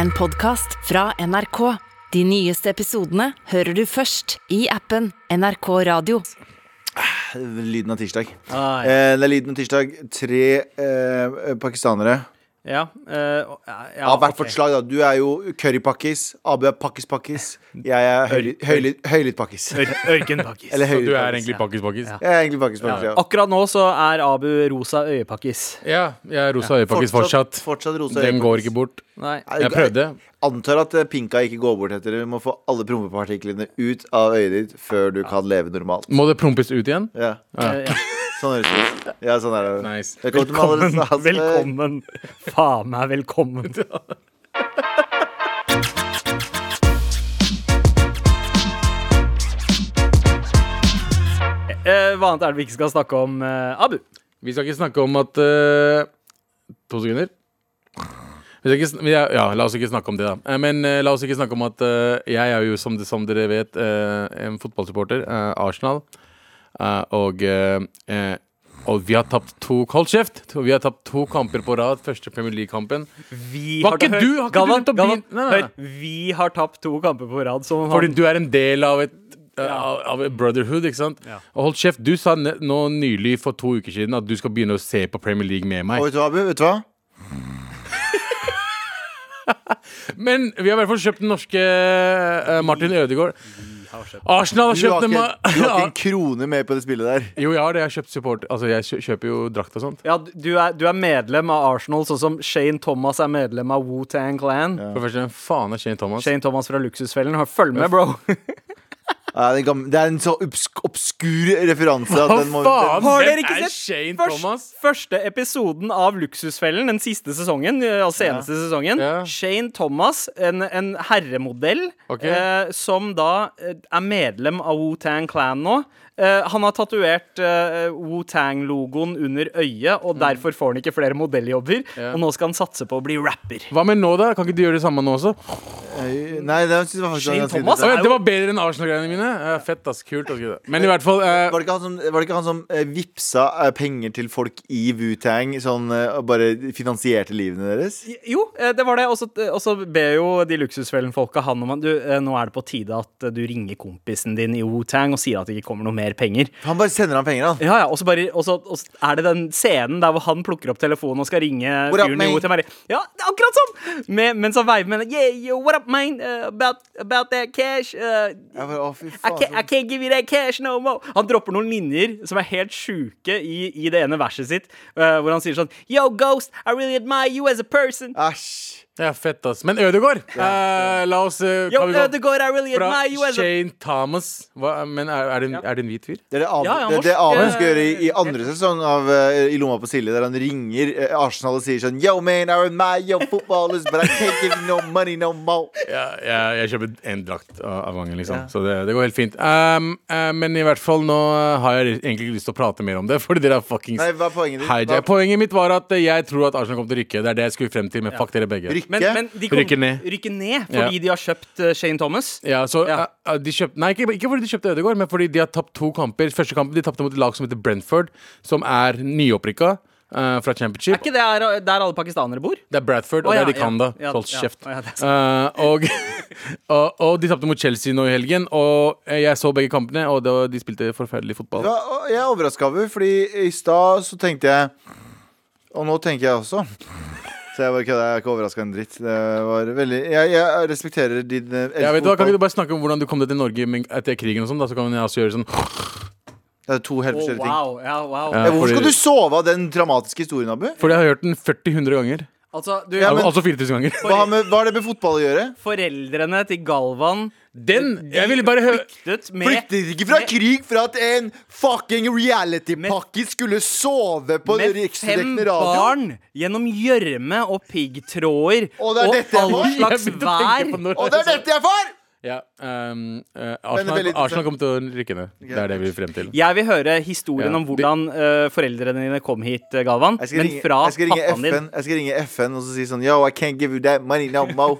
En podcast fra NRK. De nyeste episodene hører du først i appen NRK Radio. Lyden av tirsdag. Ah, ja. Eh, det er lyden av tirsdag. Tre eh, pakistanere Ja, eh, og- ja, ja, av hvert ok. vårt slag. Da. Du er jo currypakkis. Abu er pakkis-pakkis. Jeg er høylytt- høylytt- høylytt-pakkis. Ør, ørkenpakkis. Eller Så du er høylytt-pakkis. egentlig pakkis-pakkis? Ja. Ja. Jeg er egentlig pakkis-pakkis, ja. Akkurat nå så er Abu rosa øyepakkis. jeg er rosa øyepakkis fortsatt. fortsatt rosa Den øyepakkis. går ikke bort. Nei. Jeg prøvde. Antar at eh, pinka ikke går bort etter det. Vi må få alle prompepartiklene ut av øyet ditt før du kan leve normalt. Må det prompes ut igjen? Ja, eh, ja. sånn høres det ut. Ja, sånn er det. altså- eh. Nice. Velkommen, til alle sammen. Velkommen. Faen meg velkommen. Eh, hva annet er det vi ikke skal snakke om, eh, Abu? Vi skal ikke snakke om at eh, To sekunder. Vi skal ikke, sn- vi er- ja, la oss ikke snakke om det, da. Eh, Men eh, la oss ikke snakke om at eh, jeg er jo, som, det- som dere vet, eh, en fotballsupporter. eh, Arsenal. Eh, og, eh, eh, og vi har tapt to Hold kjeft! To- Vi har tapt to kamper på rad. Første Premier League-kampen. Vi Var ikke hør- du- har ikke du Galvan, begynt å Galvan, begynne- Nei, nei, nei. hør, vi har tapt to kamper på rad. Som han- Fordi du er en del av et av- Av et brotherhood, ikke sant? Ja. Og hold kjeft, du sa ne- nå nylig for to uker siden at du skal begynne å se på Premier League med Og meg. vet du hva, Abu? Vet du hva? Men vi har i hvert fall kjøpt den norske eh, Martin Ødegaard. Arsenal har Du har kjøpt den ikke, du har ikke en ma- krone med på det spillet der. Jo, jeg har det. Jeg har kjøpt support. Altså, jeg kjø- kjøper jo drakt og sånt. Ja, du er, du er medlem av Arsenal, sånn som Shane Thomas er medlem av Wu-Tang Clan. For det første, hvem faen er Shane Thomas? Shane Thomas fra Luksusfellen. Hør, Følg med, bro! Ja, det er en gam- det er en så obsk obskur referanse. at Hva den må- faen? Har dere Hvem ikke er sett Shane Først- Thomas? Første episoden av Luksusfellen, den siste sesongen, eh, altså seneste sesongen. Ja. Shane Thomas, en, en herremodell, Ok. eh, som da eh, er medlem av Wu-Tang Clan nå. Eh, han har tatovert eh, Wu-Tang-logoen under øyet, og derfor får han ikke flere modelljobber. Mm. Ja. Og nå skal han satse på å bli rapper. Hva med nå, da? Kan ikke du gjøre det samme nå også? Å, Eh, Nei, det synes jeg var faktisk Shane ganske Thomas? interessant. ja, det var bedre enn Arsenal-greiene mine. Eh, fett, ass. Kult. ass, gutta. Men i hvert fall eh, Var det, ikke han som, var det ikke han som eh, vipsa eh, penger til folk i Wu-Tang? Sånn, eh, og bare finansierte livene deres? Jo, eh, det var det. Og så- Og så ber jo de Luksusfellen-folka han om at du, eh, nå er det på tide at eh, du ringer kompisen din i Wu-Tang og sier at det ikke kommer noe mer penger. Han bare sender ham penger, han. Ja, ja, og så bare, og så, og så er det den scenen der hvor han plukker opp telefonen og skal ringe What up, fyren i man? Wu-Tang. bare, Ja, det er akkurat sånn! Med, mens han veiver med den. Yeah, yo, what up, man? Uh, about, about that cash? Uh, Jeg bare, å, fy I faen, can't, I can't give you that cash no more. Han dropper noen linjer som er helt sjuke i, i det ene verset sitt, eh, hvor han sier sånn Yo, Ghost, I really admire you as a person. Æsj. Ja, fett, ass. Men Ødegård, eh, la oss eh, Yo, kan vi gå Ødegaard, I really fra admire you as a Shane Thomas Hva, Men er, er, det en, er det en hvit fyr? Det er det Abu, Ja, ja, det, er det norsk, Abu eh, skal gjøre i, i andre sesong av eh, I lomma på Silje, der han ringer eh, Arsenal og sier sånn Yo, man, I'm my yo footballers, but I can't give you no money no more. Ja, jeg, jeg kjøper en drakt av av gangen, liksom. Så det, det går helt fint. Um, eh, men i hvert fall nå har jeg egentlig ikke lyst til å prate mer om det, fordi dere er fuckings Nei, hva er poenget ditt? hijack. Hva- Poenget mitt var at eh, jeg tror at Arsenal kommer til å rykke. Det er det jeg skulle frem til, men fuck dere begge. Rykke? men, men de kom, Rykker ned. rykker ned fordi Ja. de har kjøpt eh, Shane Thomas. Ja, så Ja. eh, eh, de kjøpt, Nei, ikke, ikke fordi de kjøpte Ødegaard, men fordi de har tapt to kamper. Første kampen de tapte mot et lag som heter Brentford, som er nyopprykka eh, fra Championship. Er ikke det her, eh, der alle pakistanere bor? Det er Bradford, og Å, det ja, er de kan, ja, da. ja, Hold ja, kjeft. å, ja, det er Eh, og, og, og de tapte mot Chelsea nå i helgen, og jeg så begge kampene, og det var, de spilte forferdelig fotball. Ja, og jeg er overraska over, fordi i stad så tenkte jeg Og nå tenker jeg også. Så jeg bare kødder. Jeg er ikke overraska en dritt. Det var veldig Jeg, jeg respekterer din eh, Jeg vet, hva, kan fotball. ikke du bare snakke om hvordan du kom deg til Norge men- etter krigen og sånn, da, så kan jeg også gjøre sånn Det er to helt Å, forskjellige ting. wow, ja, wow. Ja. Ja, Hvorfor skal fordi- du sove av den dramatiske historien, Abu? Fordi jeg har hørt den 40-100 ganger. Altså, du, Ja, men- altså 4000 ganger. Hva har, med, hva har det med fotball å gjøre? Foreldrene til Galvan Den! Jeg ville bare høre flyktet med Flyktet ikke fra med- krig for at en fucking reality-pakke skulle sove på med fem riksdekkende radio? barn gjennom gjørme og piggtråder Og det er dette jeg all var. slags Jeg begynte å vær. tenke på når- Og det er dette jeg får! Ja, ehm, eh, Men det er Arsenal, veldig- Arsenal kommer til å rykke ned. Det er det vi vil frem til. Jeg vil høre historien Ja. om hvordan eh, foreldrene dine kom hit, eh, Galvan. Jeg skal Men ringe, fra jeg skal ringe pappaen FN din. Jeg skal ringe FN og så si sånn Yo, I can't give you that money no more.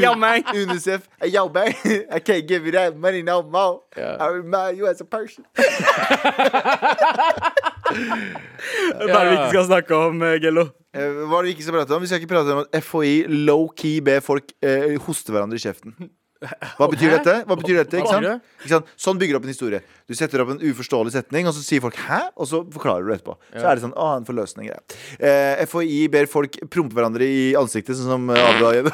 Ja, meg. UNICEF I yell back. I can't give you that money no more. Ja. I remind you as a person. Hva er det vi ikke skal snakke om, eh, Gello? Eh, Hva er det vi ikke skal prate om? Vi skal ikke prate om at FHI low-key ber folk eh, hoste hverandre i kjeften. Hva betyr dette? Hva betyr dette? Ikke betyr sant? ikke sant? Sånn bygger du opp en historie. Du setter opp en uforståelig setning, og så sier folk 'hæ?' Og så forklarer du det etterpå. Så er det sånn 'Å, en forløsende greie'. Eh, FHI ber folk prompe hverandre i ansiktet, sånn som eh, Abra gjør.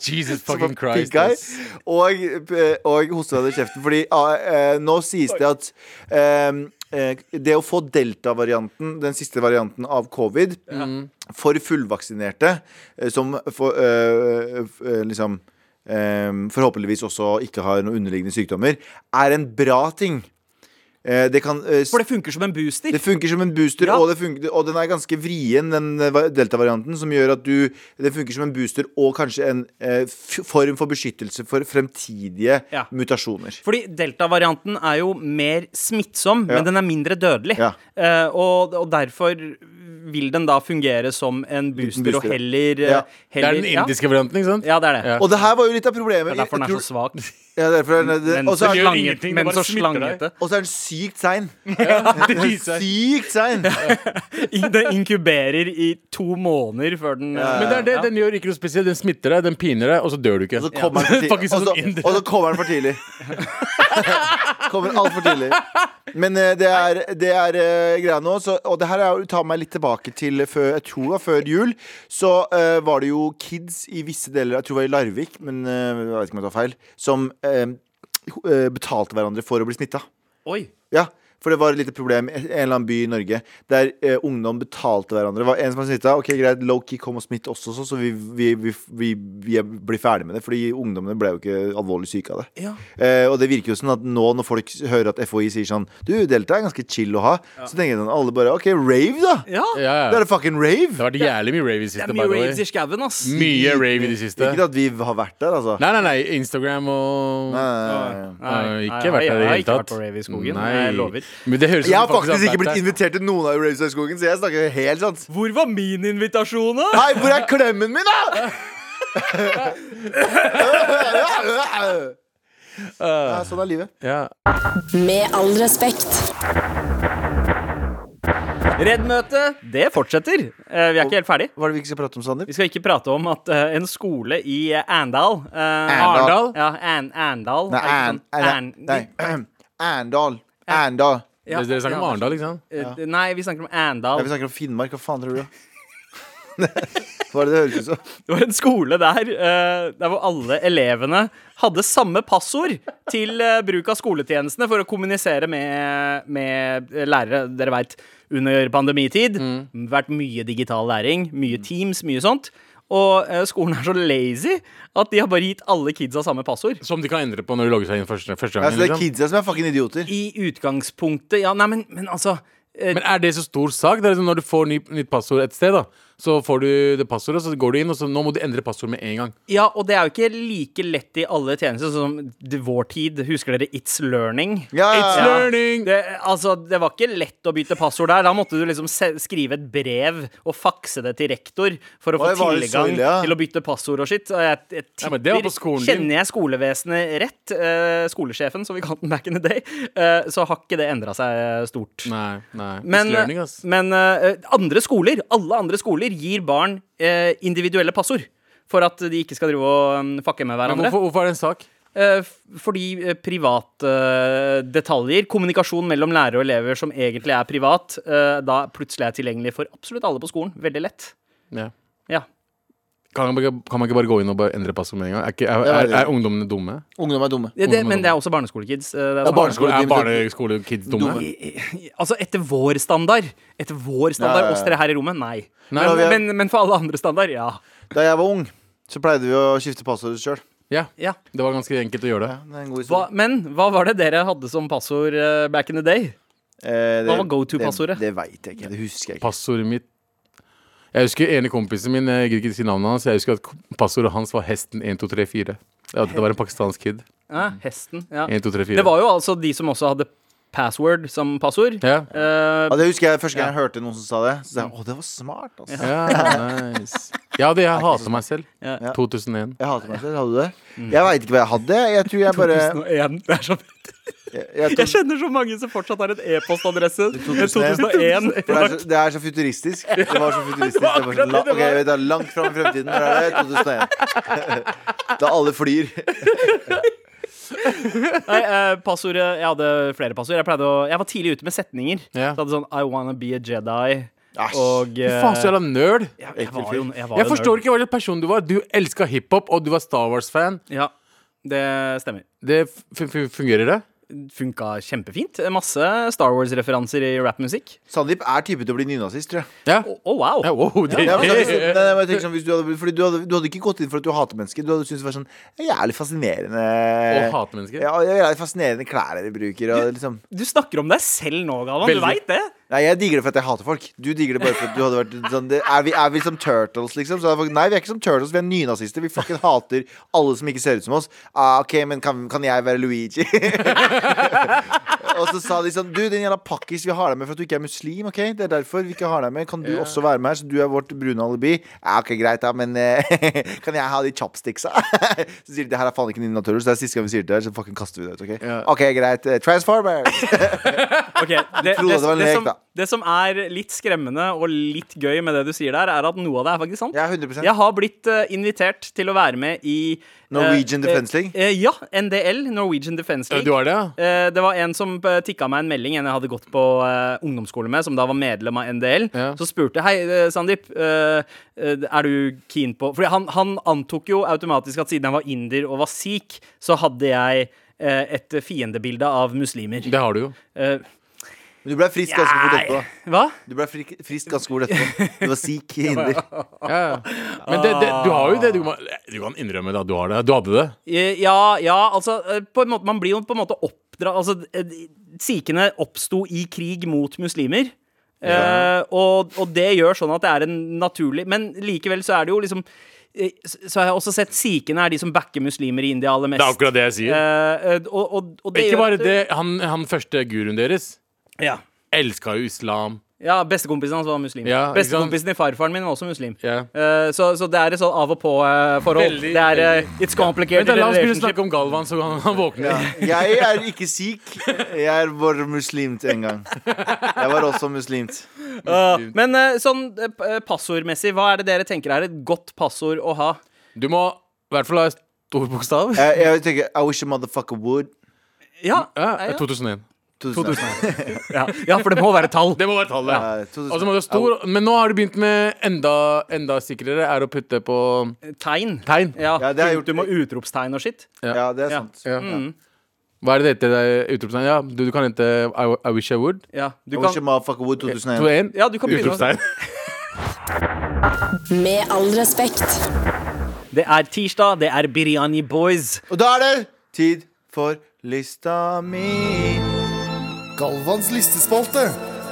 Jesus som var fucking Christ. pink eye, ass. Og, eh, og hoste deg i kjeften. Fordi ah, eh, nå sies det at eh, eh, det å få delta-varianten, den siste varianten av covid, Mm. for fullvaksinerte, eh, som for, eh, f- eh, liksom eh, forhåpentligvis også ikke har noen underliggende sykdommer, er en bra ting. Eh, det kan eh, For det funker som en booster. det funker som en booster, Ja. og, det funker, og den er ganske vrien, den eh, va- delta-varianten, som gjør at du Det funker som en booster og kanskje en eh, f form for beskyttelse for fremtidige Ja. mutasjoner. Fordi delta-varianten er jo mer smittsom, Ja. men den er mindre dødelig. Ja. Eh, og, og derfor vil den da fungere som en booster, og booster, ja. heller, eh, Ja. Det er heller den indiske varianten, ikke sant? Ja, ja det er det. Ja. Og det her var jo litt av problemet. Det er derfor den er Jeg så svak. tror- ja, derfor er den- det- Men Og så så er den- gjør slanget- ingenting, det men bare så smitter deg. slangete. og så er den sykt sein. det Den er viser seg. Sykt sein! Den inkuberer i to måneder før den eh, Men det er det, Ja. den gjør ikke noe spesielt. Den smitter deg, den piner deg, og så dør du ikke. Eh, Og så kommer den for tidlig. Faktisk Og så, sånn indre. og så kommer den for tidlig. kommer altfor tidlig. Men eh, det er, det er eh, greia nå, så, og det her er, jo- tar meg litt tilbake til før, jeg tror det var før jul. Så eh, var det jo kids i visse deler, jeg tror det var i Larvik, men eh, jeg vet ikke om jeg tar feil, som eh, ho- eh, betalte hverandre for å bli smitta. Oi. Ja, for det var et lite problem i en eller annen by i Norge der eh, ungdom betalte hverandre. Det var en som var smitta. Ok, greit, Loki kom og smitt oss også, så vi, vi, vi, vi, vi blir ferdig med det. Fordi ungdommene ble jo ikke alvorlig syke av det. Ja. Eh, og det virker jo sånn at nå når folk hører at FHI sier sånn Du, Delta er ganske chill å ha. Så tenker sånn, alle bare OK, rave, da! ja. ja, ja. Da er det fucking Det rave! har vært jævlig mye rave i det Det siste. er by mye the way. raves i skauen, ass. Mye rave i det siste. Ikke at vi har vært der, altså. Eh, Nei, nei, nei. Instagram og Nei, nei, nei. Nei, ikke jeg- vært der i det Jeg har hele ikke vært tatt. på rave i skogen. Nei. Jeg lover. Men det høres ut Jeg som har du faktisk ikke blitt vært der. invitert til noen av Raves i skogen, så jeg snakker helt sant. Hvor var min invitasjon, da? Hei, hvor er klemmen min, da?! ja, sånn er livet. Ja. Med all respekt. Redd-møtet, det fortsetter. Eh, Vi er ikke helt ferdig. Hva er det vi ikke skal prate om, Sander? Vi skal ikke prate om at eh, en skole i eh, Arendal eh, Arendal? Ja, An Arendal. Nei, er An... ikke sånn- Nei. nei. Arendal. Arendal. Ja, Dere snakker om ja. Arendal, ikke sant? Eh, Nei, vi snakker om Ja, Arendal. vi snakker om Finnmark. Hva faen tror du? Hva er det det høres ut som? Det var en skole der eh, Der hvor alle elevene hadde samme passord til eh, bruk av skoletjenestene for å kommunisere med, med lærere. Dere veit, under pandemitid vært mye digital læring, mye Teams, mye sånt. Og eh, skolen er så lazy at de har bare gitt alle kidsa samme passord. Som de kan endre på når de logger seg inn første, første Altså, gangen. det er Liksom. kidsa som er fucking idioter. I utgangspunktet Ja, nei, men, men altså eh, Men er det så stor sak? Det er liksom når du får ny, nytt passord et sted, da. Så får du det passordet, så går du inn, og så nå må du endre passord med en gang. Ja, og det er jo ikke like lett i alle tjenester sånn som d- vår tid. Husker dere It's Learning? Ja, ja, It's ja. learning! Det, altså, det var ikke lett å byte passord der. Da måtte du liksom se skrive et brev og fakse det til rektor for å få Oi, var det så tilgang ille, ja? til å bytte passord og sitt. Og jeg, jeg Ja, tipper, men det var på skolen din. Kjenner jeg skolevesenet rett, eh, skolesjefen som vi kalte den back in the day, eh, så har ikke det endra seg eh, stort. Nei, nei. Men, It's learning, ass. men eh, andre skoler, alle andre skoler gir barn eh, individuelle passord. For at de ikke skal drive og um, fucke med Men hverandre. hvorfor, hvorfor er det en sak? Eh, f- fordi eh, private eh, detaljer, kommunikasjon mellom lærere og elever som egentlig er privat, eh, da plutselig er tilgjengelig for absolutt alle på skolen. Veldig lett. Ja. Ja. Kan, man ikke- kan man ikke bare gå inn og bare endre passord med en gang? Er, ikke, er, Det er er, veldig- er ungdommene dumme? Ungdom er dumme. Det, det, men det er også barneskolekids. eh, det er Og sånn- barneskole- Er barneskolekids dumme? Dumme. Altså etter vår standard. Etter vår standard, Ja, ja, ja. oss dere her i rommet, nei. Nei, Ja, vi er- Men, men for alle andre standard, ja. Da jeg var ung, så pleide vi å skifte passord sjøl. ja. ja. Det var ganske enkelt å gjøre det. Ja, det er en god Hva, historie. men hva var det dere hadde som passord eh, back in the day? Eh, det- hva var go-to-passordet? Det, det veit jeg ikke. Det husker jeg ikke. Passordet mitt Jeg husker ene kompisen min, jeg gidder ikke si navnet hans, jeg husker at ko- passordet hans var hesten 1234. Ja, det var en pakistansk kid. Ja, hesten. Ja. 1234. Det var jo altså de som også hadde password som passord. Ja. Eh, Ja, det husker jeg Første gang jeg hørte noen som sa det, så sa jeg å, det var smart. altså Ja, nice. Ja, det jeg hater meg selv. Ja. 2001. Jeg hater meg selv. Hadde du det? Jeg veit ikke hva jeg hadde. Jeg tror jeg bare 2001. Det er sånn så fett. Jeg, jeg Jeg tok, kjenner så mange som fortsatt har en e-postadresse. 2001. 2001. for det, er så, det er så futuristisk. Det var så futuristisk. Det var så la, ok, jeg vet, det er langt fram i fremtiden. Når er det? 2001. Da alle flyr. Nei, eh, passordet Jeg hadde flere passord. Jeg, pleide å, jeg var tidlig ute med setninger. Ja. Så hadde sånn I wanna be a Jedi. Æsj. Og eh, Faen, så jævla nerd. jeg, jeg var jo jeg, var Jeg forstår ikke hva slags person du var. Du elska hiphop, og du var Star Wars-fan. Ja, det stemmer. Det f f fungerer, det? Funka kjempefint. Masse Star Wars-referanser i rappmusikk. Sandeep er type til å bli nynazist, tror jeg. Ja. Å, å, wow. Ja, wow, det, Nei, men, så- hvis, nei, det, nei, men jeg tenker sånn, hvis du, hadde, blitt- fordi du, hadde, du hadde ikke gått inn for at du hater mennesker. Du hadde syntes det var sånn jævlig fascinerende Å hate mennesker? Ja, jævlig fascinerende klær de bruker. Og, liksom. Du snakker om deg selv nå, Galvan. Du Veldig. veit det? Nei, jeg digger det for at jeg hater folk. Du digger det bare for at du hadde vært sånn det, er, vi, er vi som turtles, liksom? Så er folk, nei, vi er ikke som turtles, vi er nynazister. Vi fucking hater alle som ikke ser ut som oss. Ah, OK, men kan, kan jeg være Luigi? og så sa de sånn Du, den jævla pakkis, vi har deg med for at du ikke er muslim, OK? Det er derfor vi ikke har deg med. Kan du også være med her, så du er vårt brune alibi? Ja, OK, greit, da, men eh, kan jeg ha de chopsticksa? så sier de det her er faen ikke Ninja Turtles, det er siste gang vi sier det her, så fucking kaster vi det ut, OK? Ja. OK, greit. eh, Transformers! Ok, det, Frode, det var en lek, som, da. det som er litt skremmende og litt gøy med det du sier der, er at noe av det er faktisk sant. Ja, 100%. Jeg har blitt eh, invitert til å være med i eh, Norwegian eh, Defence League? eh, ja, NDL. Norwegian Defence League. du har det, ja? Eh, det var en som eh, tikka meg en melding, en jeg hadde gått på eh, ungdomsskole med, som da var medlem av NDL. Ja. Så spurte jeg hei, eh, Sandeep, eh, eh, er du keen på Fordi han, han antok jo automatisk at siden jeg var inder og var sikh, så hadde jeg eh, et fiendebilde av muslimer. Det har du jo. Eh, Men du ble frisk ganske fort etterpå. da. hva? Du ble frik, frisk ganske god etterpå. Du var sikh hinder. Ja, ja. Men det, det, du har jo det. Du, må, du kan innrømme det at du har det. Du hadde det. Eh, Ja, ja, altså eh, på en måte, Man blir jo på en måte oppdra... Altså, eh, sikhene oppsto i krig mot muslimer. Eh, og, og det gjør sånn at det er en naturlig Men likevel så er det jo liksom eh, s- Så har jeg også sett sikhene er de som backer muslimer i India aller mest. Det er akkurat det jeg sier. Eh, eh, og, og, og det Ikke gjør bare at- det. Han, han første guruen deres Ja. elska jo islam. ja Bestekompisen hans var muslim. Ja, ikke sant? Bestekompisen i farfaren min var også muslim. Ja. Eh, så, så det er et sånn av-og-på-forhold. Veldig, det er eh, It's complicated Vent, da, la oss begynne å relationship. snakke om Galvan, så han, han våkner. Ja. Jeg er ikke sikh. Jeg er bare muslimt en gang. Jeg var også muslimt. Ja, Men eh, sånn eh, p- eh, passordmessig, hva er det dere tenker er et godt passord å ha? Du må i hvert fall ha stor bokstav. Ja, Jeg, jeg tenker I wish a motherfucker would. Ja, ja, 2001. 2000. ja, ja for det må være tall. Det må være tallet. Ja, Ja. 2000. Og så må du ha stor, men nå har du begynt med enda, enda sikrere, er å putte på Tegn. tegn. Ja, Ja, det har jeg Du må gjort. utropstegn og skitt. Ja, det er Ja. sant. Ja. Hva er det det heter? Utropstegn? Ja, du, du kan hente I, I wish I would. Ja, du I wish a kan, motherfucker would 2001. 21. ja, du kan begynne. å- Utropstegn. Med all respekt. Det er tirsdag, det er Biryani Boys. Og da er det tid for lista mi. Galvans listespalte.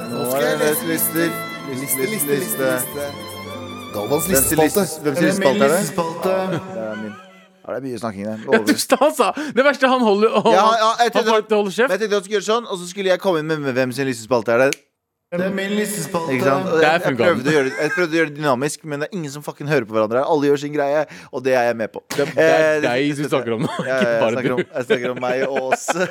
Nå Nå skal jeg er det lese lister. liste, Liste, liste, liste, liste. liste. Galvans Hvem sin listespalte. liste- hvem sin listespalte er det? listespalte? Det er min. Ja, det er mye snakking der. Du sa, sa. Det verste, han holder Ja, han, ja, jeg han tenkte- får ikke holde Men kjeft. jeg tenkte jeg skulle gjøre sånn, og så skulle jeg komme inn med, med hvem sin listespalte er det. Det er min listespalte. Ikke sant? Og Der Jeg, jeg, funka den. prøvde å gjøre, det- jeg prøvde å gjøre det dynamisk, men det er ingen som fucking hører på hverandre. her. Alle gjør sin greie, og det er jeg med på. Det det Eh, er deg du snakker om nå, Ja, ikke jeg, bare snakker om, du. jeg snakker om meg og oss. Det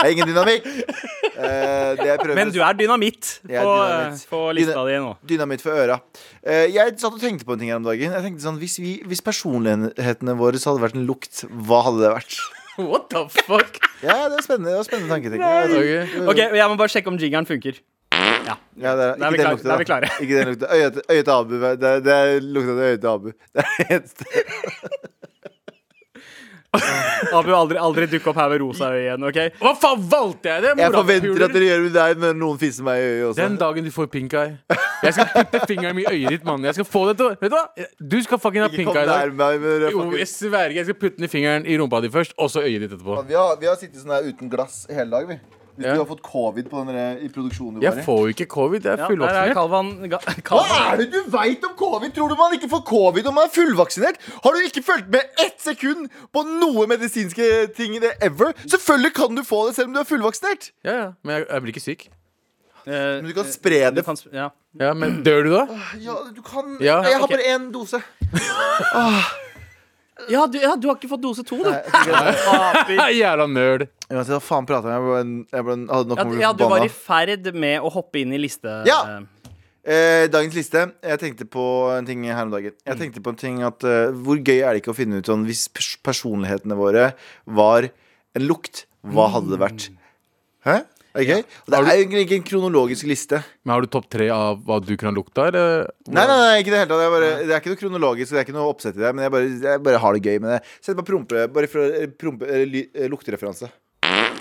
er ingen dynamikk. Eh, Det jeg prøver Men du er dynamitt på, Jeg er dynamitt. eh, på lista di nå. Dynamitt for øra. Eh, Jeg satt og tenkte på en ting her om dagen. Jeg tenkte sånn, Hvis, vi, hvis personlighetene våre hadde vært en lukt, hva hadde det vært? What the fuck? Ja, Det er spennende, det er spennende tanke. tenker jeg. Ok. Ok, Jeg må bare sjekke om jingeren funker. Ja, det er, Da er ikke vi den klar- lukta. da er vi klare. Ikke den lukta. Øyet, øyet til Abu. Det, er- det er lukta til øyet til Abu. Det er det eneste. Abu aldri, aldri dukke opp her ved rosa øye igjen. ok? Hva faen valgte jeg det? Jeg morapuler? forventer at dere gjør det med deg når noen fiser meg i øyet også. Den dagen du får pink eye. Jeg skal putte fingeren min i øyet ditt, mann. Jeg skal få det til å Vet du hva? Du skal fucking ha ikke pink kom eye i nær dag. meg med det, Jo, fucking- jeg sverger. Jeg skal putte den i fingeren i rumpa di først, og så øyet ditt etterpå. vi, har, vi har sittet sånn her uten glass hele dag, vi. Hvis Ja. du har fått covid på den der, i produksjonen du var Jeg i. får jo ikke covid. Ja, Jeg er der er fullvaksinert. Kalvan. Ga- Hva Kalvan. er det du veit om covid? Tror du man ikke får covid om man er fullvaksinert? Har du ikke fulgt med ett sekund på noe medisinske ting i det ever? Selvfølgelig kan du få det selv om du er fullvaksinert. Ja, ja. Men jeg, jeg blir ikke syk. Eh, Men du kan spre du det. kan sp- ja. Ja, Men dør du da? Ja, du kan Ja, Jeg har ok. bare én dose. Ja, du, ja, du har ikke fått dose to, du. Nei, jeg tenker at- Aper. Jævla nerd. Uansett, hva faen prater jeg om? Jeg, ble, jeg, ble, jeg hadde nok Ja, om å du- bli ja, du var forbanna. i ferd med å hoppe inn i liste... Ja. eh, Eh, dagens liste. Jeg tenkte på en ting her om dagen. Jeg tenkte på en ting at eh, Hvor gøy er det ikke å finne ut sånn hvis pers personlighetene våre var en lukt? Hva hadde det vært? Hæ? Er det gøy? Og Det er jo egentlig ikke en kronologisk liste. Men har du topp tre av hva du kunne ha lukta, eller? Nei, nei, nei, ikke det hele tatt. Det er, bare, det er ikke noe kronologisk, det er ikke noe oppsett i det. Men jeg bare, jeg bare har det gøy med det. Sett på prompe, bare for å- prompe, eller ly- eh, luktereferanse.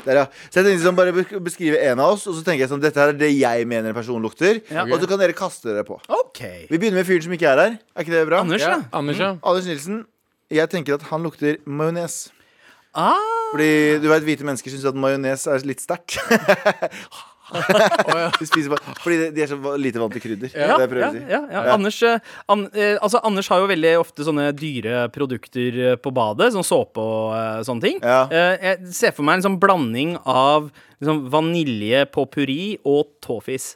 Der, ja. Så jeg tenkte sånn, bare bes- beskrive en av oss, og så tenker jeg sånn Dette her er det jeg mener en person lukter. Og så kan dere kaste dere på. OK. Vi begynner med fyren som ikke er her. Er ikke det bra? Anders, Ja, ja. Mm. Anders, ja. Anders Nilsen. Jeg tenker at han lukter majones. Ah, Fordi du vet, hvite mennesker syns at majones er litt sterkt. De spiser bare Fordi de- de er så va- lite vant til krydder. det ja, er det jeg prøver ja, å si. ja, ja. Anders, eh, an, eh, altså, Anders har jo veldig ofte sånne dyre produkter eh, på badet, sånn såpe og eh, sånne ting. Ja. Eh, jeg ser for meg en sånn blanding av liksom, vanilje på puré og tåfis.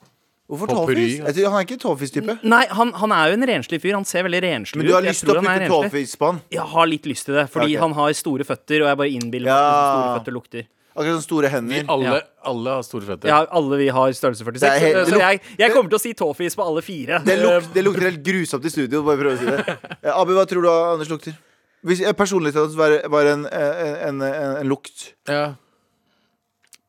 Hvorfor Potpourri, tåfis? ja. Jeg tror- Han er ikke tåfis-type. Nei, han, han er jo en renslig fyr. Han ser veldig renslig ut. Men du har Jeg lyst til tror å han er putte renslig. tåfis på han? Jeg har litt lyst til det, fordi Ok. han har store føtter, og jeg bare innbiller meg Ja. hvordan store føtter lukter. Akkurat sånn store hender. Alle, alle har store føtter. Ja, alle vi har størrelse 46, Det er helt- så- så jeg, jeg kommer til å si tåfis på alle fire. Det, luk, det lukter helt grusomt i studio. Bare prøv å si det. Eh, Abu, hva tror du Anders lukter? Hvis eh, personligheten hans var, var en, eh, en, en, en lukt Ja.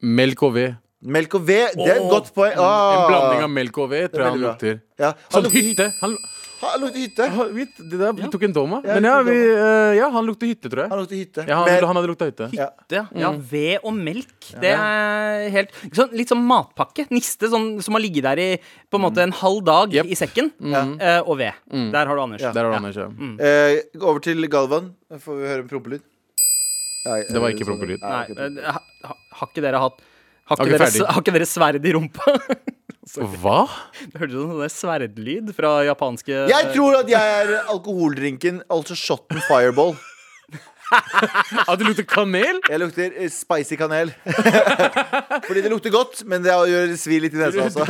Melk og ved. Mm. Melk og ved, det er et Åh, Mm, godt poeng. En Ah. blanding av melk og ved tror jeg han veldig bra. lukter. ja. Han Sånn lukter hytte. hytte. Han, Han lukter hytte. han, vi, det der, vi tok en dom, Ja, ja. Men vi ja, tok en vi, eh, ja, han lukter hytte, tror Han jeg. lukter hytte. Ja, han, Men- han hadde lukta hytte. ja. Mm. Ja, ja, ved og melk. Det er helt sånn, Litt sånn matpakke. Niste sånn, som har ligget der i på en måte en halv dag Jep. i sekken. Eh, og ved. Der har du Anders. Mm. Ja. Der har du Anders, ja. Mm. Eh, over til Galvan. Får vi høre en prompelyd? Nei, Det var eh, ikke sånn- prompelyd. Nei, Nei, ok, eh, ha, ha, har ikke dere hatt har Er ikke, vi dere, ferdig? s- har ikke dere sverd i rumpa? Hva? Hørte du sånn sverdlyd fra japanske Jeg tror at jeg er alkoholdrinken, altså shotten fireball. At det lukter kanel? Jeg lukter eh, spicy kanel. Fordi det lukter godt, men det gjør det svir litt i nesa også.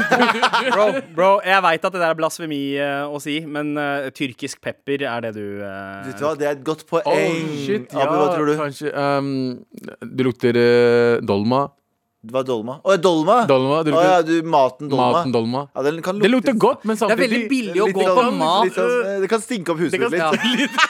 Bro, bro, jeg veit at det der er blasfemi eh, å si, men eh, tyrkisk pepper er det du eh, Vet du hva, Det er et godt poeng. Oh, shit, ja, Abu, hva tror du? Kanskje, ehm, det lukter eh, dolma. Det var dolma. Å, dolma? Dolma, det Å lukter ja, du, maten dolma. Maten dolma. Ja, den kan Det lukter godt, men Det er samtidig veldig billig å Litt gå på grann- litt mat. sånn, eh, det kan stinke opp huset kan- mitt litt. ja.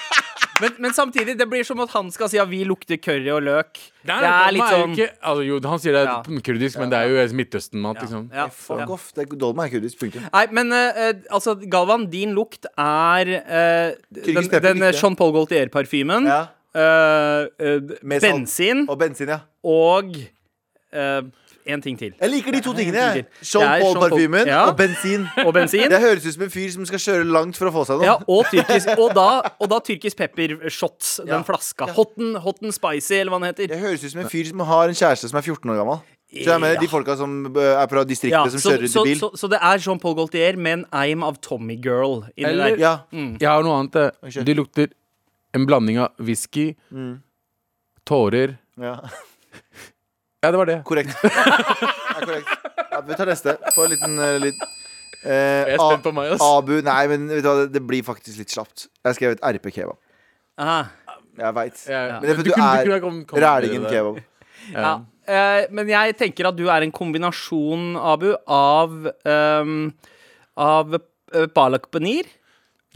Men, men samtidig, det blir som at han skal si at vi lukter curry og løk. det Nei, er dolma litt jo sånn ikke, altså, jo, Han sier det er Ja. kurdisk, men det er jo Midtøsten-mat, liksom. ja, Fuck ja. off. Det er, dolma er kurdisk. Punktum. Nei, men eh, eh, altså, Galvan, din lukt er eh, den, pepper den eh, likte jeg. Jean Paul Gaultier-parfymen. Ja. eh, eh, Med salt. bensin Og bensin, ja. og eh, en ting til. Jeg liker de to tingene. en ting jeg. til. Det Sean er Sean Paul- Paul-parfymen Ja. og bensin. Og bensin. Det høres ut som en fyr som skal kjøre langt for å få seg noe. Ja, og tyrkisk Og da, og da tyrkisk pepper-shots. Ja. Den flaska. Hotten, hotten spicy, eller hva den heter. Det høres ut som en fyr som har en kjæreste som er 14 år gammel. Så jeg mener Ja. de folka som eh, er fra distriktet, Ja, som så, kjører rundt så, i bil. så, så det er Jean Paul Gaultier med en eim av Tommy Girl inni der. Eller- ja. Jeg har noe annet. eh. kjør. Det lukter en blanding av whisky, Mm. tårer ja. Ja, det var det. Korrekt. Ja, korrekt. Ja, vi tar neste. Få en liten eh, litt eh, Jeg er spent på meg, ass. A- Abu Nei, men vet du hva, det, det blir faktisk litt slapt. Jeg har skrevet RP kebab. Aha. Jeg veit. Ja, ja. Men det er Men fordi du, du kunne- du kunne ha kommet- kommet er rælingen videre der. kebab. Ja. eh, men jeg tenker at du er en kombinasjon, Abu, av ehm, Av eh, palak paneer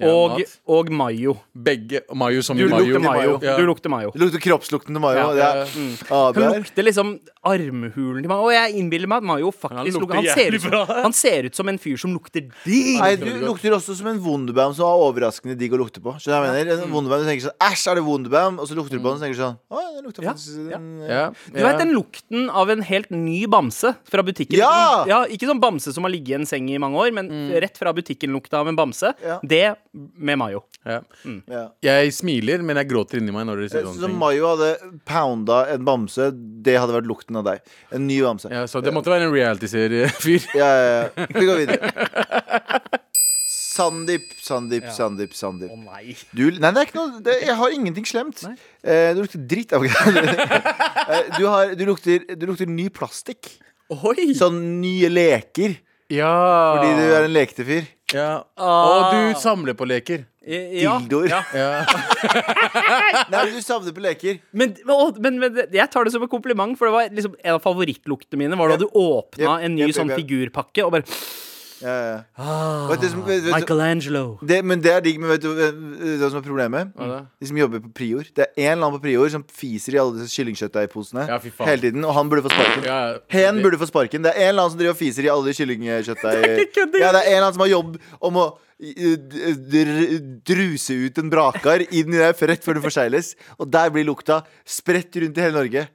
Ja, og, mat. og mayo. Begge Mayo som Du i mayo. lukter mayo. Ja. Du lukter mayo. Det lukter kroppslukten til Mayo. Ja. det er- Abu Hun her. lukter liksom armhulen til Mayo. Og jeg innbiller meg at Mayo faktisk lukter lukter han ser, jævlig ut som, bra. han ser ut som en fyr som lukter digg. Nei, du lukter også som en Wunderbaum som er overraskende digg å lukte på. Skjønner du hva jeg mener? En Wunderbaum, du tenker sånn Æsj, er det Wunderbaum? Og så lukter du på den, og så tenker du sånn Å, den lukter Mm. Ja, faktisk ja. den- eh, Ja, Du ja. vet den lukten av en helt ny bamse fra butikken? Ja! ja Ikke sånn bamse som har ligget i en seng i mange år, men Mm. rett fra butikken-lukta av en bamse. Ja. Det med mayo. ja. Mm. Ja. Jeg smiler, men jeg gråter inni meg når dere sier Så sånne som ting. Mayo hadde pounda en bamse, det hadde vært lukten av deg. En ny bamse. Ja, Ja, så det måtte være en reality-serie-fyr. ja, ja. Vi går videre. Sandeep, Sandeep, Sandeep, Sandeep. Nei. Du, nei, det er ikke noe det, Jeg har ingenting slemt. Eh, du lukter dritt. av- Eh, du, har, du, lukter, du lukter ny plastikk. Oi! Sånn nye leker. Ja. Fordi du er en lekete fyr. Ja. Ah. Og du samler på leker. I- ja. Dildoer. Ja. Ja. Nei, men du savner på leker. Men, men, å, men, men det- jeg tar det som en kompliment, for det var liksom en av favorittluktene mine. Var da du åpna Yep, en ny yep, sånn yep, yep. figurpakke og bare Ja, ja. Vet du, som- vet, vet, Michelangelo. det, men det er digg, men vet du vet du hva som er problemet? da? De som jobber på Prior. Det er en eller annen på Prior som fiser i alle disse kyllingkjøttdeigposene Ja, fy faen. hele tiden, og han burde få sparken. Ja, ja. Hen burde få sparken. Det er en eller annen som driver og fiser i alle de kyllingkjøttdeig... ikke kødd engang. Ja, det er en eller annen som har jobb om å eh, dr- druse ut en brakar inn i deg rett før du forsegles, og der blir lukta spredt rundt i hele Norge.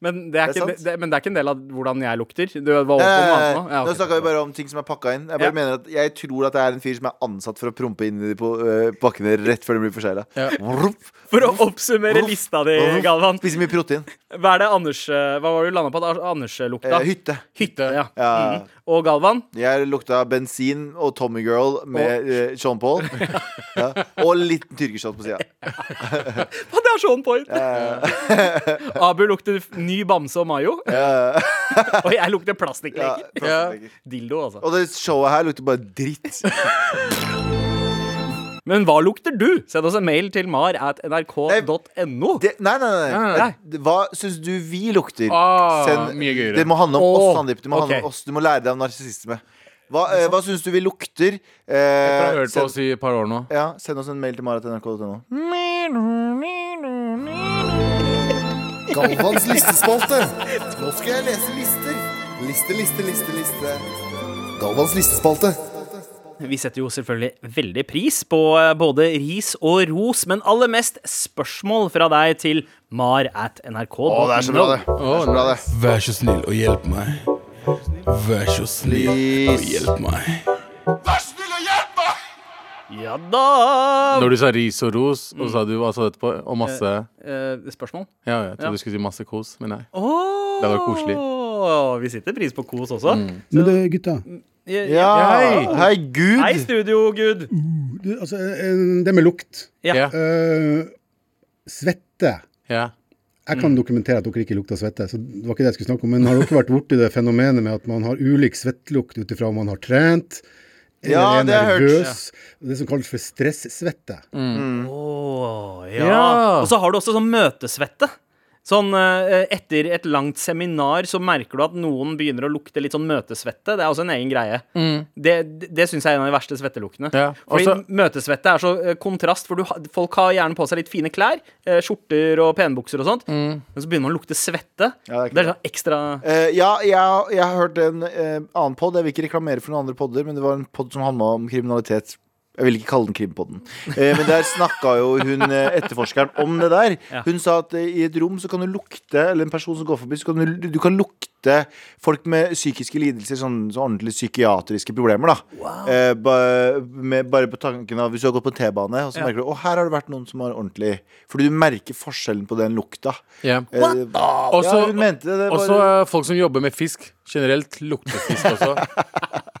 Men det, Det er er ikke, sant. det, men det er ikke en del av hvordan jeg lukter. Du var over på noe Eh, annet nå. Ja, Nå ok. snakka vi bare om ting som er pakka inn. Jeg bare Ja. mener at jeg tror at det er en fyr som er ansatt for å prompe inn i de på, eh, pakkene rett før de blir forsegla. Ja. For å oppsummere lista di, Galvan. Spiser mye protein. Hva er det Anders eh, Hva var det du landa på at Anders-lukta? Eh, hytte. Hytte, ja. Ja. Mhm. Og Galvan? Jeg lukta bensin og Tommy Girl med eh, Sean Paul. ja. Og en liten tyrkershot på sida. Hva, det er sånn point! Abu lukter f- ny bamse og mayo. og jeg lukter Ja, plastikkleker. plastikkleker. Dildo, altså. og det showet her lukter bare dritt. Men hva lukter du? Send oss en mail til mar at nrk.no. Det, nei, nei, nei. Nei, nei, Hva syns du vi lukter? Ah, mye gøyere. Det må handle om Åh, oss, Sandeep. Det må handle ok. om oss. Du må lære deg om narsissisme. Hva, eh, hva syns du vi lukter? Eh, Jeg har hørt på send- oss i et par år nå. Ja, send oss en mail til marat.nrk.no. Galvans listespalte. Nå skal jeg lese lister. Liste, liste, liste, liste. Galvans listespalte. Vi setter jo selvfølgelig veldig pris på eh, både ris og ros, men aller mest spørsmål fra deg til mar at nrk.no. Å, bra, det. Vær så snill og hjelp meg. Vær så snill og Please. hjelp meg. Ja da! Når du sa ris og ros, og sa du hva sa du etterpå? Og masse Ja, Eh, spørsmål? jeg trodde du skulle si masse kos, men nei. Oh, Det var koselig. Vi setter pris på kos også. Men det, gutta, Ja, Ja, Hei. Mm. hei, Gud! Hei, studio, Gud. du, altså, eh, det med lukt Ja. Ja. Eh, Svette. ja. Jeg Mm. kan dokumentere at dere ikke lukter svette, så det var ikke det jeg skulle snakke om. Men har dere vært borti det fenomenet med at man har ulik svettelukt ut ifra om man har trent, eller Ja, er det har jeg hørt. nervøs? Det som kalles for stressvette. Åh, ja. Ja. Og så har du også sånn møtesvette. Sånn eh, etter et langt seminar så merker du at noen begynner å lukte litt sånn møtesvette. Det er også en egen greie. Det, det, det syns jeg er en av de verste svetteluktene. Mm. Ja, Fordi også- møtesvette er så eh, kontrast, for du, ha- folk har gjerne på seg litt fine klær. eh, skjorter og penbukser og sånt. Mm. Men så begynner man å lukte svette. Ja, det er ikke det er sånn ekstra Eh, ja, jeg, jeg har hørt en eh, annen pod. Jeg vil ikke reklamere for noen andre podder, men det var en pod som handla om kriminalitet. Jeg vil ikke kalle den krimpodden. Eh, men der snakka jo hun eh, etterforskeren om det der. Ja. Hun sa at eh, i et rom så kan du lukte, eller en person som går forbi, så kan du, du kan lukte folk med psykiske lidelser, sånn, så ordentlig psykiatriske problemer, da. Eh, ba, med, bare på tanken av hvis du har gått på en T-bane, og så Ja. merker du Å, her har det vært noen som har ordentlig Fordi du merker forskjellen på den lukta. ja. Eh, Også, ja, hun mente det. det er også eh, folk som jobber med fisk. Generelt lukter fisk også.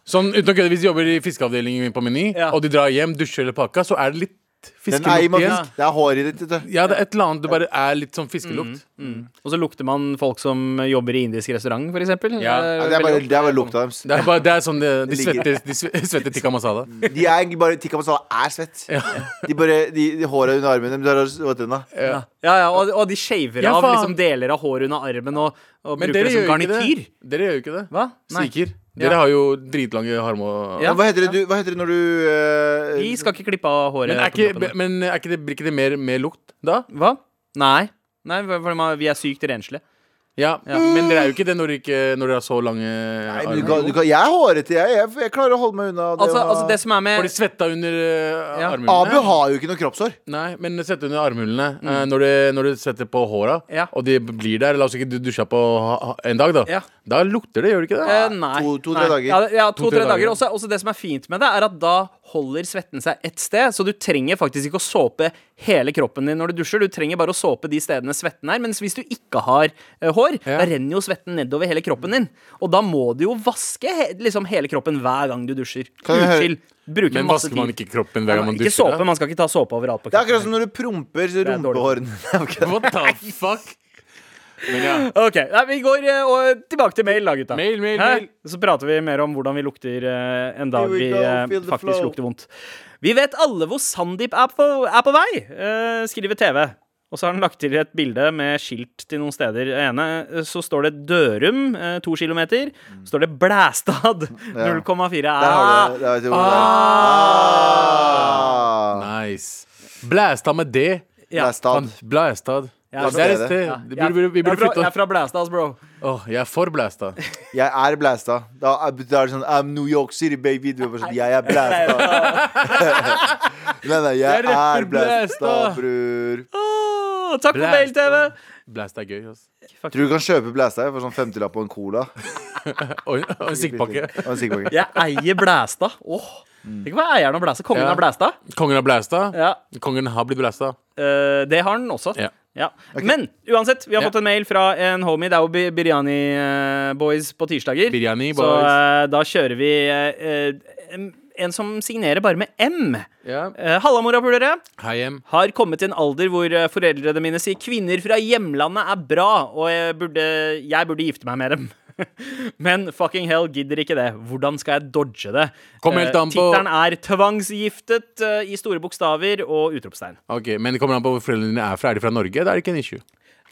Sånn uten å kødde, hvis de jobber i fiskeavdelingen på Meny, Ja. og de drar hjem, dusjer eller pakka, så er det litt Den er fiskelukt i igjen. mafisk. Det er hår i det. vet du. Ja, det er et eller annet. Det bare er litt sånn fiskelukt. Og så lukter man folk som jobber i indisk restaurant, for eksempel. Eh, Ja. Ja, det er bare, det er bare lukta deres. Det er, bare, det er sånn det, De Det ligger- Mm. svetter, de sve- svetter tikka masala. De er egentlig bare Tikka Masala er svett. De bare, de, de håra under armene de drar og svett unna. Ja, ja, ja og, og de shaver Ja, av faen. liksom deler av håret under armen og, og Men bruker dere det som gjør jo ikke garnityr. det. Dere gjør jo ikke det. Hva? Nei. Sikher. Ja. Dere har jo dritlange harmer. Ja. Hva heter det, du, hva heter det når du eh, Vi skal ikke klippe av håret. Men, er på ikke, kroppen. men er ikke det, blir ikke det mer, mer lukt da? Hva? Nei. Nei, for for man- vi er sykt renslige. Ja, Ja. Men dere er jo ikke det når dere, ikke, når dere har så lange Nei, men du kan, du armer. kan, jeg er hårete, jeg. jeg. Jeg klarer å holde meg unna det. Altså, å ha- altså det som er Har med de svetta under eh, Ja. Abu armhulene? har jo ikke noe kroppshår. Nei, men svette under armhulene eh, når, det, når det svetter på håra, Mm. Ja. og de blir der La oss ikke du dusja på ha- ha- en dag, da. Ja. Da lukter det, gjør det ikke det? Eh, nei. To- to-tre nei. dager. Ja, det- ja to-tre To-tre dager. dager. Også, også det som er fint med det, er at da holder svetten seg ett sted, så du trenger faktisk ikke å såpe hele kroppen din når du dusjer. Du trenger bare å såpe de stedene svetten er. Mens hvis du ikke har eh, hår, Ja. da renner jo svetten nedover hele kroppen din. Og da må du jo vaske he liksom hele kroppen hver gang du dusjer. Kan jeg høre- Utskill. Bruke Men masse vasker tid. man ikke kroppen hver gang man ikke dusjer? såpe, da? man skal ikke ta såpe overalt på Det er akkurat som når du promper, så er dårlig. rumpehårene What the fuck? Men ja. OK. Nei, vi går eh, og tilbake til mail, da, gutta. Mail, mail, Hæ? mail. Så prater vi mer om hvordan vi lukter eh, en dag Here we vi go, eh, feel the faktisk flow. lukter vondt. Vi vet alle hvor Sandeep er på, er på vei, eh, skriver TV. Og så har han lagt til et bilde med skilt til noen steder. Det ene eh, så står det Dørum, eh, to kilometer. Så står det Blæstad, 0,4. Mm. Der har Ah, du det. Der vet du hvor det er. Ah. Nice. Blæsta med det. Det ja. er stad. Blæstad. Ja, det er et sted. Ja, Vi jeg, burde, vi jeg, er burde fra, jeg er flytte. fra Blæstad, ass, bro. Åh, jeg er for blæsta. Jeg er blæsta. Da er da er det sånn I'm New York City, baby. Du er bare sånn Jeg er blæsta. nei, nei, Jeg jeg rapper er blæsta, blæsta. bror. Åh, Ah, takk for Blæstad. mail, TV. Blæsta er gøy, altså. Tror du kan kjøpe blæsta for sånn 50-lapp og en cola? Og og en sikkpakke. Og en sikkpakke. Jeg eier Blæstad. Åh, Tenk å være eieren av Blæstad. Kongen Mm. Ja. av Blæstad. Kongen har blæsta. Ja, Kongen har blitt blæsta. eh, det har han også. Ja. Ja. Men uansett, vi har Ja. fått en mail fra en homie. Det er jo Bi- Biryani eh, Boys på tirsdager. Biryani Så Boys. eh, da kjører vi eh, eh, en som signerer bare med M. Ja. Uh, Halla, morapulere. Hei hjem. Har kommet til en alder hvor eh, foreldrene mine sier 'kvinner fra hjemlandet er bra', og jeg burde, jeg burde gifte meg med dem. Men fucking hell, gidder ikke det. Hvordan skal jeg dodge det? Kom helt Eh, an på- Tittelen er 'Tvangsgiftet' eh, i store bokstaver og utropstegn. Ok, Men det kommer an på hvor foreldrene dine er fra. Er de fra Norge? Da er det ikke en issue.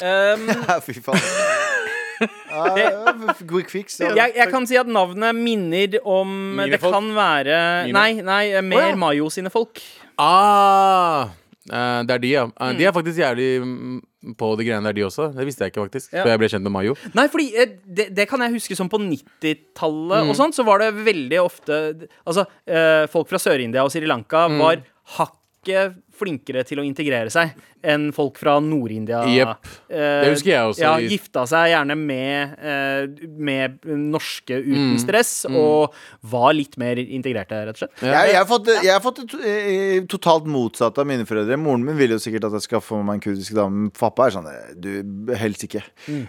Um, Ja, Fy faen. Ja, ja, Quick fix. ja. jeg, jeg kan si at navnet minner om Mine Det folk? kan være Mine? Nei, nei, eh, mer Å, ja. Mayo sine folk. Ah, eh, det er de, ja. Eh, de er faktisk jævlig mm, på de greiene der, de også. Det visste jeg ikke, faktisk. Ja. Før jeg ble kjent med Mayo. Nei, fordi eh, det, det kan jeg huske som på 90-tallet Mm. og sånt, så var det veldig ofte Altså, eh, folk fra Sør-India og Sri Lanka Mm. var hakket flinkere til å integrere seg enn folk fra Nord-India. Jepp. Eh, Det husker jeg også Ja, i- gifta seg gjerne med, eh, med norske uten Mm. stress, og var litt mer integrerte, rett og slett. Jeg, jeg har fått, jeg har fått det to- eh, totalt motsatt av mine foreldre. Moren min vil jo sikkert at jeg skal få meg en kurdisk dame. men Pappa er sånn eh, Du, helst ikke.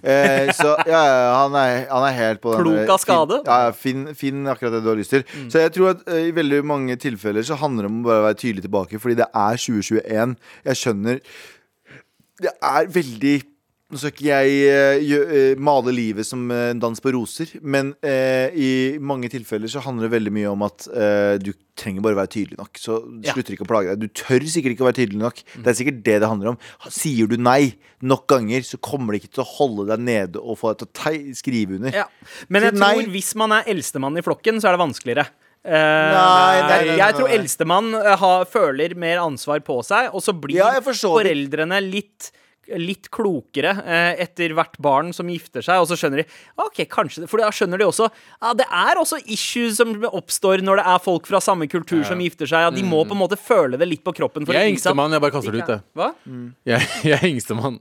Eh, så ja, ja, han, er, han er helt på den Mm. Klok der- av skade. Mm. Finn, ja, ja, finn, finn akkurat det du har lyst til. Så jeg tror at eh, i veldig mange tilfeller så handler det om å bare være tydelig tilbake, fordi det er 2021. Jeg skjønner Det er veldig nå skal ikke jeg eh, gjø- eh, male livet som eh, en dans på roser, men eh, i mange tilfeller så handler det veldig mye om at eh, du trenger bare være tydelig nok. Så Ja. slutter ikke å plage deg. Du tør sikkert ikke å være tydelig nok. Det er sikkert det det handler om. Sier du nei nok ganger, så kommer det ikke til å holde deg nede og få deg til å tei- skrive under. Ja. Men jeg Så nei. tror hvis man er eldstemann i flokken, så er det vanskeligere. Eh, nei, nei, nei, jeg nei, tror nei. eldstemann eh, har- føler mer ansvar på seg, og så blir Ja, jeg forstår det. foreldrene litt Litt klokere eh, etter hvert barn som gifter seg, og så skjønner de Ok, kanskje det, For da skjønner de også ja, Det er også issues som oppstår når det er folk fra samme kultur som gifter seg. Ja, de må på en måte føle det litt på kroppen. For Jeg å er vise at- yngstemann. Jeg bare kaster det ut, jeg. Hva? Jeg, jeg er yngstemann.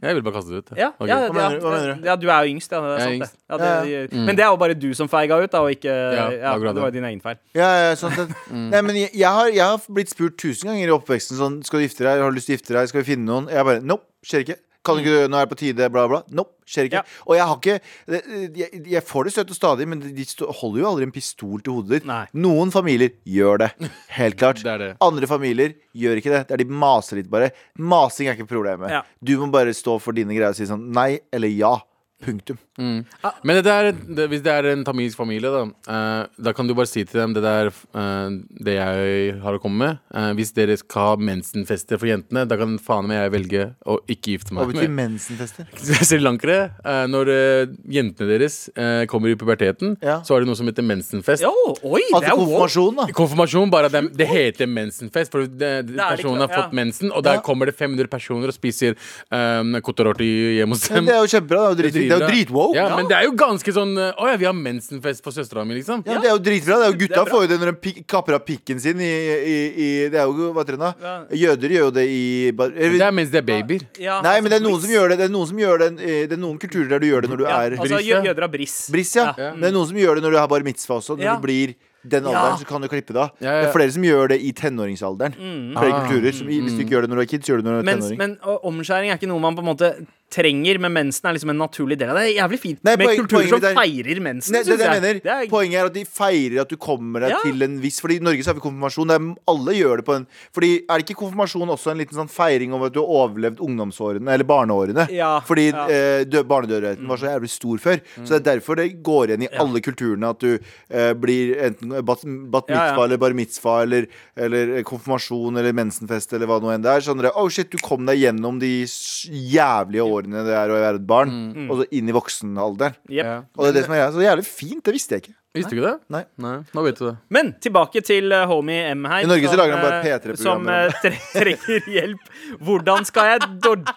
Jeg vil bare kaste det ut. Ja, ja, Ok. ja, Hva mener du- hva mener du? ja, du er jo yngst, ja. Det er Jeg er sant, yngst. Mm. det. Ja, det, Men det er jo bare du som feiga ut, da, og ikke ja, akkurat Det var det. jo din egen feil. Ja, ja, sånn sett. Mm. Nei, men jeg, jeg, har, jeg har blitt spurt tusen ganger i oppveksten sånn Skal du gifte deg? Har du lyst til å gifte deg? Skal vi finne noen? Jeg bare Nope, skjer ikke. Kan Mm. du ikke, nå er det på tide, bla, bla. Nope, skjer ikke. Ja. Og jeg har ikke det- Jeg, jeg får det støtt og stadig, men de sto- holder jo aldri en pistol til hodet ditt. Nei. Noen familier gjør det. Helt klart. Det er det. Andre familier gjør ikke det. Der de maser litt, bare. Masing er ikke problemet. Ja. Du må bare stå for dine greier og si sånn nei eller ja. Punktum. Men dette er, det, hvis det er en tamilsk familie, da, eh, da kan du bare si til dem det der eh, det jeg har å komme med. Eh, hvis dere skal ha mensenfester for jentene, da kan faen meg jeg velge å ikke gifte Hva meg betyr mensenfester? srilankere. Eh, når eh, jentene deres eh, kommer i puberteten, Ja. så er det noe som heter mensenfest. Jo, oi, det Altså er jo konfirmasjon, da. Konfirmasjon, bare at det, det heter mensenfest. For det, det, er det personen klart, har fått ja. mensen, og der Ja. kommer det 500 personer og spiser um, kotororti hjemme hos Men dem. Det er jo kjempebra. Det er jo drit- det er jo Dritbra. dritwoke. Ja, Men det er jo ganske sånn eh, Å ja, vi har mensenfest for søstera mi, liksom. Ja, men Det er jo dritbra. det er jo Gutta Det er bra. får jo det når de pik kapper av pikken sin i, i, i Det er jo hva heter det da? Jøder gjør jo det i bar eller- Det er mens de er babyer. ja, Nei, men det er noen briss. som gjør det. Det er noen, som gjør det, eh, det er noen kulturer der du gjør det når du Altså, ja, er Altså, brisse. jø- jøder har briss. Briss, ja. Ja. Men Det er noen som gjør det når du har bar mitzvah også. Når Ja. du blir den alderen, Ja. så kan du klippe det av. Ja, ja. Det er flere som gjør det i tenåringsalderen. Flere Mm. Ah. Mm. kulturer. Som, i- hvis du ikke gjør det når du er kid, så gjør du det når du er Men, tenåring. men å, omskjæring er ikke noe man på en måte trenger, men mensen er liksom en naturlig del av det. Det er jævlig fint Nei, med poen- kulturer poenget som mitt er- feirer mensen, Nei, det, er det jeg synes jeg. mener. Det er- Poenget er at de feirer at du kommer deg Ja. til en viss Fordi i Norge så har vi konfirmasjon. Det er, alle gjør det på en Fordi Er det ikke konfirmasjon også en liten sånn feiring over at du har overlevd ungdomsårene eller barneårene? Ja, Fordi ja. Mm. eh, dø, barnedødeligheten var så jævlig stor før. Så det er derfor det går igjen i alle kulturene at du eh, blir enten bat, bat mitzvah Ja, ja. eller bar mitzvah eller, eller eh, konfirmasjon eller mensenfest eller hva nå enn det er. Sånn dere, oh shit, du kom deg gjennom de s- jævlige årene det er å være et barn, Mm. og så inn i voksenalderen. Jep. Ja. Og det er det som er greia. Så jævlig fint, det visste jeg ikke. Visste du ikke det? Nei. Nå vet du det. Men tilbake til eh, homie M her. I Norge så som, lager han bare eh, P3-programmer. Som eh, tre trenger hjelp. Hvordan skal jeg dodge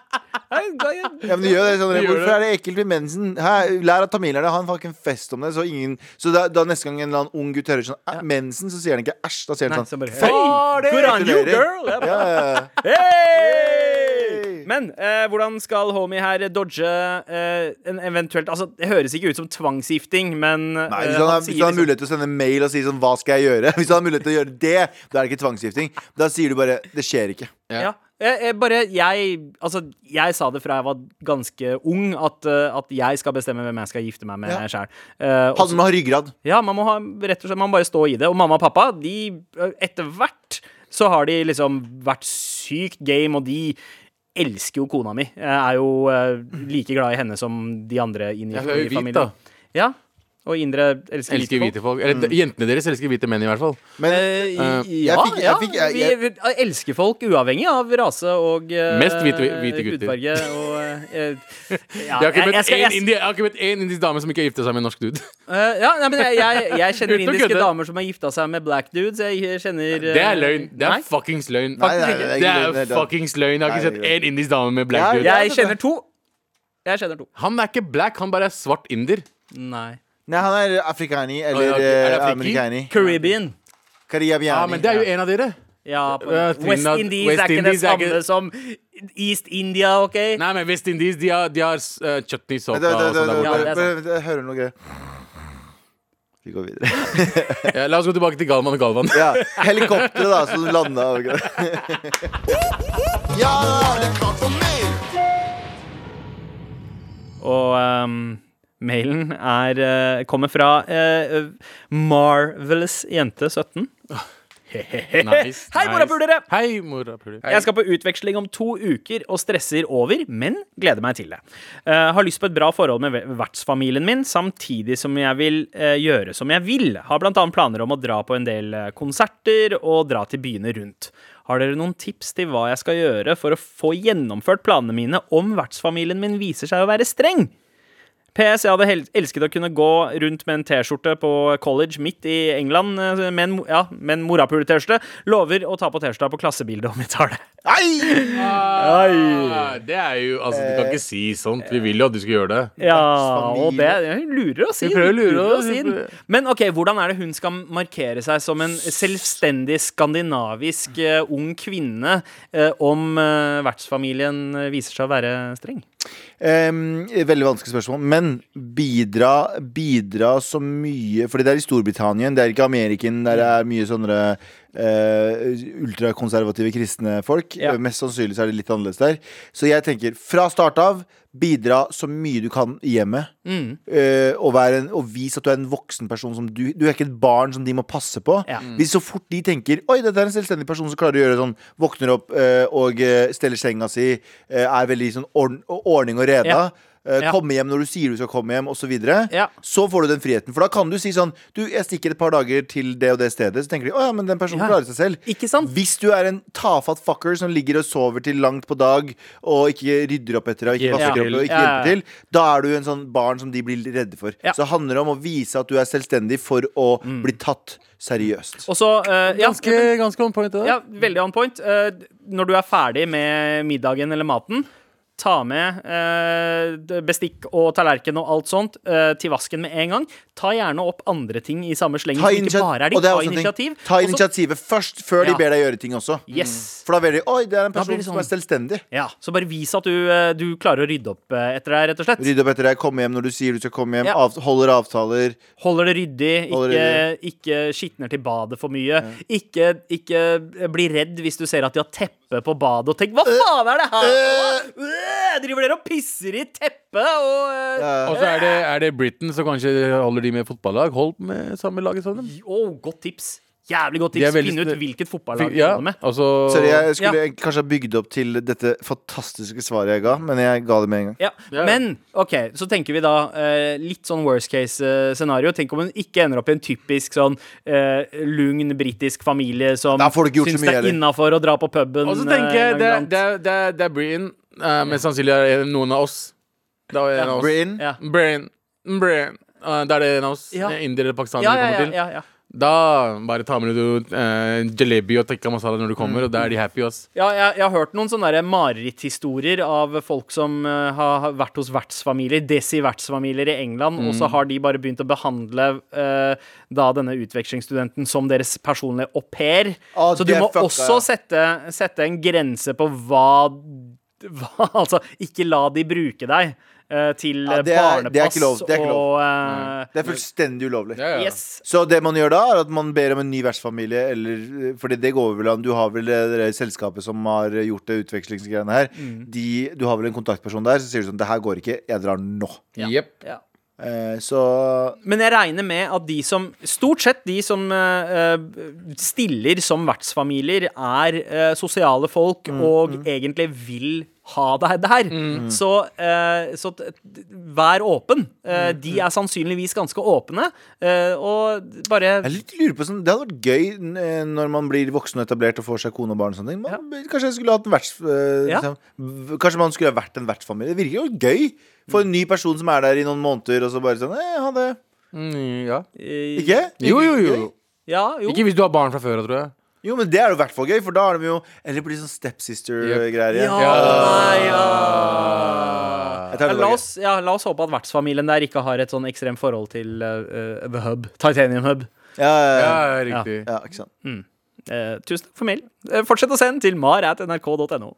Nei, da- jeg- Ja, men det gjør det, Sondre. Det gjør Hvorfor det. er det ekkelt med mensen? Hæ? Lær av tamilerne, ha en fucking fest om det. Så, ingen, så da, da neste gang en eller annen ung gutt hører sånn «Æ, mensen, så sier han ikke æsj. Da sier Nei, han så sånn bare, «Fuck, Hey, good on you, girl! Ja, Jeg bare, ja, ja. Hey! Men eh, hvordan skal homie her dodge eh, en eventuelt Altså, det høres ikke ut som tvangsgifting, men eh, Nei, hvis han, har, sier hvis han har liksom- mulighet til å sende mail og si sånn Hva skal jeg gjøre? Hvis han har mulighet til å gjøre det, da er det ikke tvangsgifting. Da sier du bare Det skjer ikke. Ja. Jeg, jeg bare jeg, altså, jeg sa det fra jeg var ganske ung, at, eh, at jeg skal bestemme hvem jeg skal gifte meg med Eh, Ja. sjæl. Han må ha ryggrad. ja, man må ha, rett og slett, man må bare stå i det. Og mamma og pappa, de eh, etter hvert så har de liksom vært sykt game, og de elsker jo kona mi. Jeg er jo eh, like glad i henne som de andre inn i, Ja, hun er jo i hvit, familien. da. Ja, og indre elsker, Elsker hvite folk. Eller de- jentene deres elsker hvite menn, i hvert fall. Men Eh, i- jeg ja, fikk- jeg ja. fikk- jeg- jeg- vi vi elsker folk uavhengig av rase og eh, Mest hvite- hvite gutter. hudfarge og eh, ja, Jeg har jeg- ikke jeg møtt skal- jeg- én indi- jeg har ikke møtt én indisk dame som ikke har gifta seg med en norsk dude. eh, ja, nei, men jeg, jeg, jeg kjenner Uten å indiske kødde. damer som har gifta seg med black dudes. Jeg kjenner eh, Det er løgn. Det nei. er fuckings løgn. Nei, nei, nei, Det det er er ikke løgn. fuckings løgn. Jeg har Nei, ikke det er sett ikke én indisk dame med black Ja, dude. ja. Jeg kjenner to. Jeg kjenner to. Han er ikke black, han bare er svart inder. Nei. Nei, han er afrikani Å, ja, eller ok. Er det eh, afriki? amerikani. Caribbean. Karibiani. Ja, men det er jo en av dere. Ja, på, Ja, West Trinidad- Indies West er ikke det Indies er samme ikke- som East India, OK? Nei, men West Indies, de har, de har eh, chutney sopa Vent, vent, og vent, sånn der vent, Ja, borte. Altså, det er vent, vent, Jeg hører noe greier. Vi går videre. Ja, la oss gå tilbake til Galvan og Galvan. Ja, helikopteret da, som landa og Ja, det er klart for mer! Og ehm, mailen er, eh, kommer fra eh, Marvelous-jente17. Nice, Hei, nice. morapulere! Hei, morapulere. Jeg skal på utveksling om to uker og stresser over, men gleder meg til det. Eh, har lyst på et bra forhold med ve- vertsfamilien min, samtidig som jeg vil eh, gjøre som jeg vil. Har blant annet planer om å dra på en del eh, konserter og dra til byene rundt. Har dere noen tips til hva jeg skal gjøre for å få gjennomført planene mine om vertsfamilien min viser seg å være streng? PS, jeg hadde hel elsket å kunne gå rundt med en T-skjorte på college midt i England, eh, med en, mo- ja, med en morapule-T-skjorte. Lover å ta på T-skjorta på klassebildet om vi tar det. Ah, det er jo Altså, du kan ikke si sånt. Vi vil jo at du skal gjøre det. Ja, og det hun lurer oss inn. Hun prøver å lure lurer oss, hun inn. prøver- Men ok, hvordan er det hun skal markere seg som en selvstendig skandinavisk eh, ung kvinne eh, om eh, vertsfamilien eh, viser seg å være streng? Veldig vanskelig spørsmål. Men bidra, bidra så mye Fordi det er i Storbritannia, det er ikke Ameriken. Der det er mye sånne eh, ultrakonservative kristne folk. Ja. Mest sannsynlig så er det litt annerledes der. Så jeg tenker, fra start av, bidra så mye du kan i hjemmet. Mm. Eh, og, være en, og vis at du er en voksen person. Som du, du er ikke et barn som de må passe på. Ja. Hvis så fort de tenker Oi, dette er en selvstendig person som klarer å gjøre sånn, våkner opp eh, og eh, steller senga si, eh, er veldig sånn ord, ordning og reda. Ja. eh, Ja. Komme hjem når du sier du skal komme hjem, osv. videre Ja. Så får du den friheten. For da kan du si sånn Du, jeg stikker et par dager til det og det stedet. Så tenker de å ja, men den personen Ja. klarer seg selv. Ikke sant? Hvis du er en tafatt fucker som ligger og sover til langt på dag, og ikke rydder opp etter deg, og ikke Hjelper vasker til. opp og ikke Ja, ja, ja. hjelper til, da er du en sånn barn som de blir redde for. Ja. Mm. Så det handler om å vise at du er selvstendig for å bli tatt seriøst. Og så eh, ja, Ganske, ganske on point. Det. ja, der. veldig on point. Eh, når du er ferdig med middagen eller maten, ta med eh, bestikk og tallerken og alt sånt eh, til vasken med en gang. Ta gjerne opp andre ting i samme slengen, Ta, som ikke initiat- bare er og ditt. det er Ta også en ting. initiativ. Ta Og så- initiativet først, før Ja. de ber deg gjøre ting også. Yes. For da vet de Oi, det er en Da blir person det sånn. som er selvstendig. Ja, Så bare vis at du, eh, du klarer å rydde opp eh, etter deg, rett og slett. Rydde opp etter deg, komme hjem når du sier du skal komme hjem, Ja. av, holder avtaler. Holder det ryddig, Holder ikke, ikke skitner til badet for mye. Ikke, eh, Eh, ikke bli redd hvis du ser at de har teppe på badet og tenk 'hva faen er det her?' øh, driver dere og pisser i teppet og øh, Eh, Og så er det, er det Britain, så kanskje holder de med fotballag. Hold med samme laget som dem. Å, godt tips. Jævlig godt De er tips. veldig Finn ut sn- hvilket fotballag du ja, holder med. altså Sorry, jeg skulle Ja. egentlig kanskje ha bygd opp til dette fantastiske svaret jeg ga, men jeg ga det med en gang. Ja. Men OK, så tenker vi da eh, litt sånn worst case eh, scenario. Tenk om hun ikke ender opp i en typisk sånn eh, lugn britisk familie som Da får du ikke gjort så syns mye, det er heller. innafor å dra på puben. Og så tenker jeg, eh, det, iblant. det, det, det er Britain. Eh, mest sannsynlig er det noen av oss. Det er en av oss. Brain. Ja. Britain. Britain. Eh, da er det en av oss. Ja. eh, Indere eller pakistanere Ja, ja, kommer ja, til. ja, ja. Da bare ta med deg eh, jalebi og tikka masala når du Mm. kommer, og da er de happy. ass Ja, jeg, jeg har hørt noen sånne der mareritthistorier av folk som eh, har har vært hos vertsfamilier, desi-vertsfamilier i England, og Mm. så har de bare begynt å behandle eh, da denne utvekslingsstudenten som deres personlige au pair. Ah, så du det må fucka også sette, sette en grense på hva, hva Altså, ikke la de bruke deg eh, til Ja, det er- barnepass det er ikke lov, det er ikke lov. og eh, Det er fullstendig ulovlig. Ja, ja. Yes. Så det man gjør da, er at man ber om en ny vertsfamilie, eller Fordi det går vel an. Du har vel det, der selskapet som har gjort det utvekslingsgreiene her. Mm. De, du har vel en kontaktperson der, så sier du sånn Det her går ikke. Jeg drar nå. Jepp. Ja. Eh, så Men jeg regner med at de som Stort sett de som eh, eh, stiller som vertsfamilier, er eh, sosiale folk og egentlig vil ha deg der. Så, eh, så t- t- vær åpen. Eh, de er sannsynligvis ganske åpne, eh, og bare jeg litt lurer på sånn, Det hadde vært gøy n- eh, når man blir voksen og etablert og får seg kone og barn. og sånne ting man, Kanskje jeg skulle hatt en verts... eh, Ja. liksom, v- Kanskje man skulle ha vært en vertsfamilie. Det virker jo gøy for en ny person som er der i noen måneder, og så bare sånn eh, Ha det. Mm, ja. eh, Ikke? Jo, jo, jo. Ja, jo. Ikke hvis du har barn fra før av, tror jeg. Jo, men det er jo i hvert fall gøy, for da er de jo Eller blir det sånn stepsister-greier igjen. ja, Ja. nei, ja. Jeg Ja, tar det la, tilbake. oss, ja, la oss håpe at vertsfamilien der ikke har et sånn ekstremt forhold til eh, eh, The Hub. Titanium Hub. Ja, ja, Ja, ja. riktig. ja, ikke sant. Eh, tusen takk for mail. Eh, fortsett å sende til mar.nrk.no.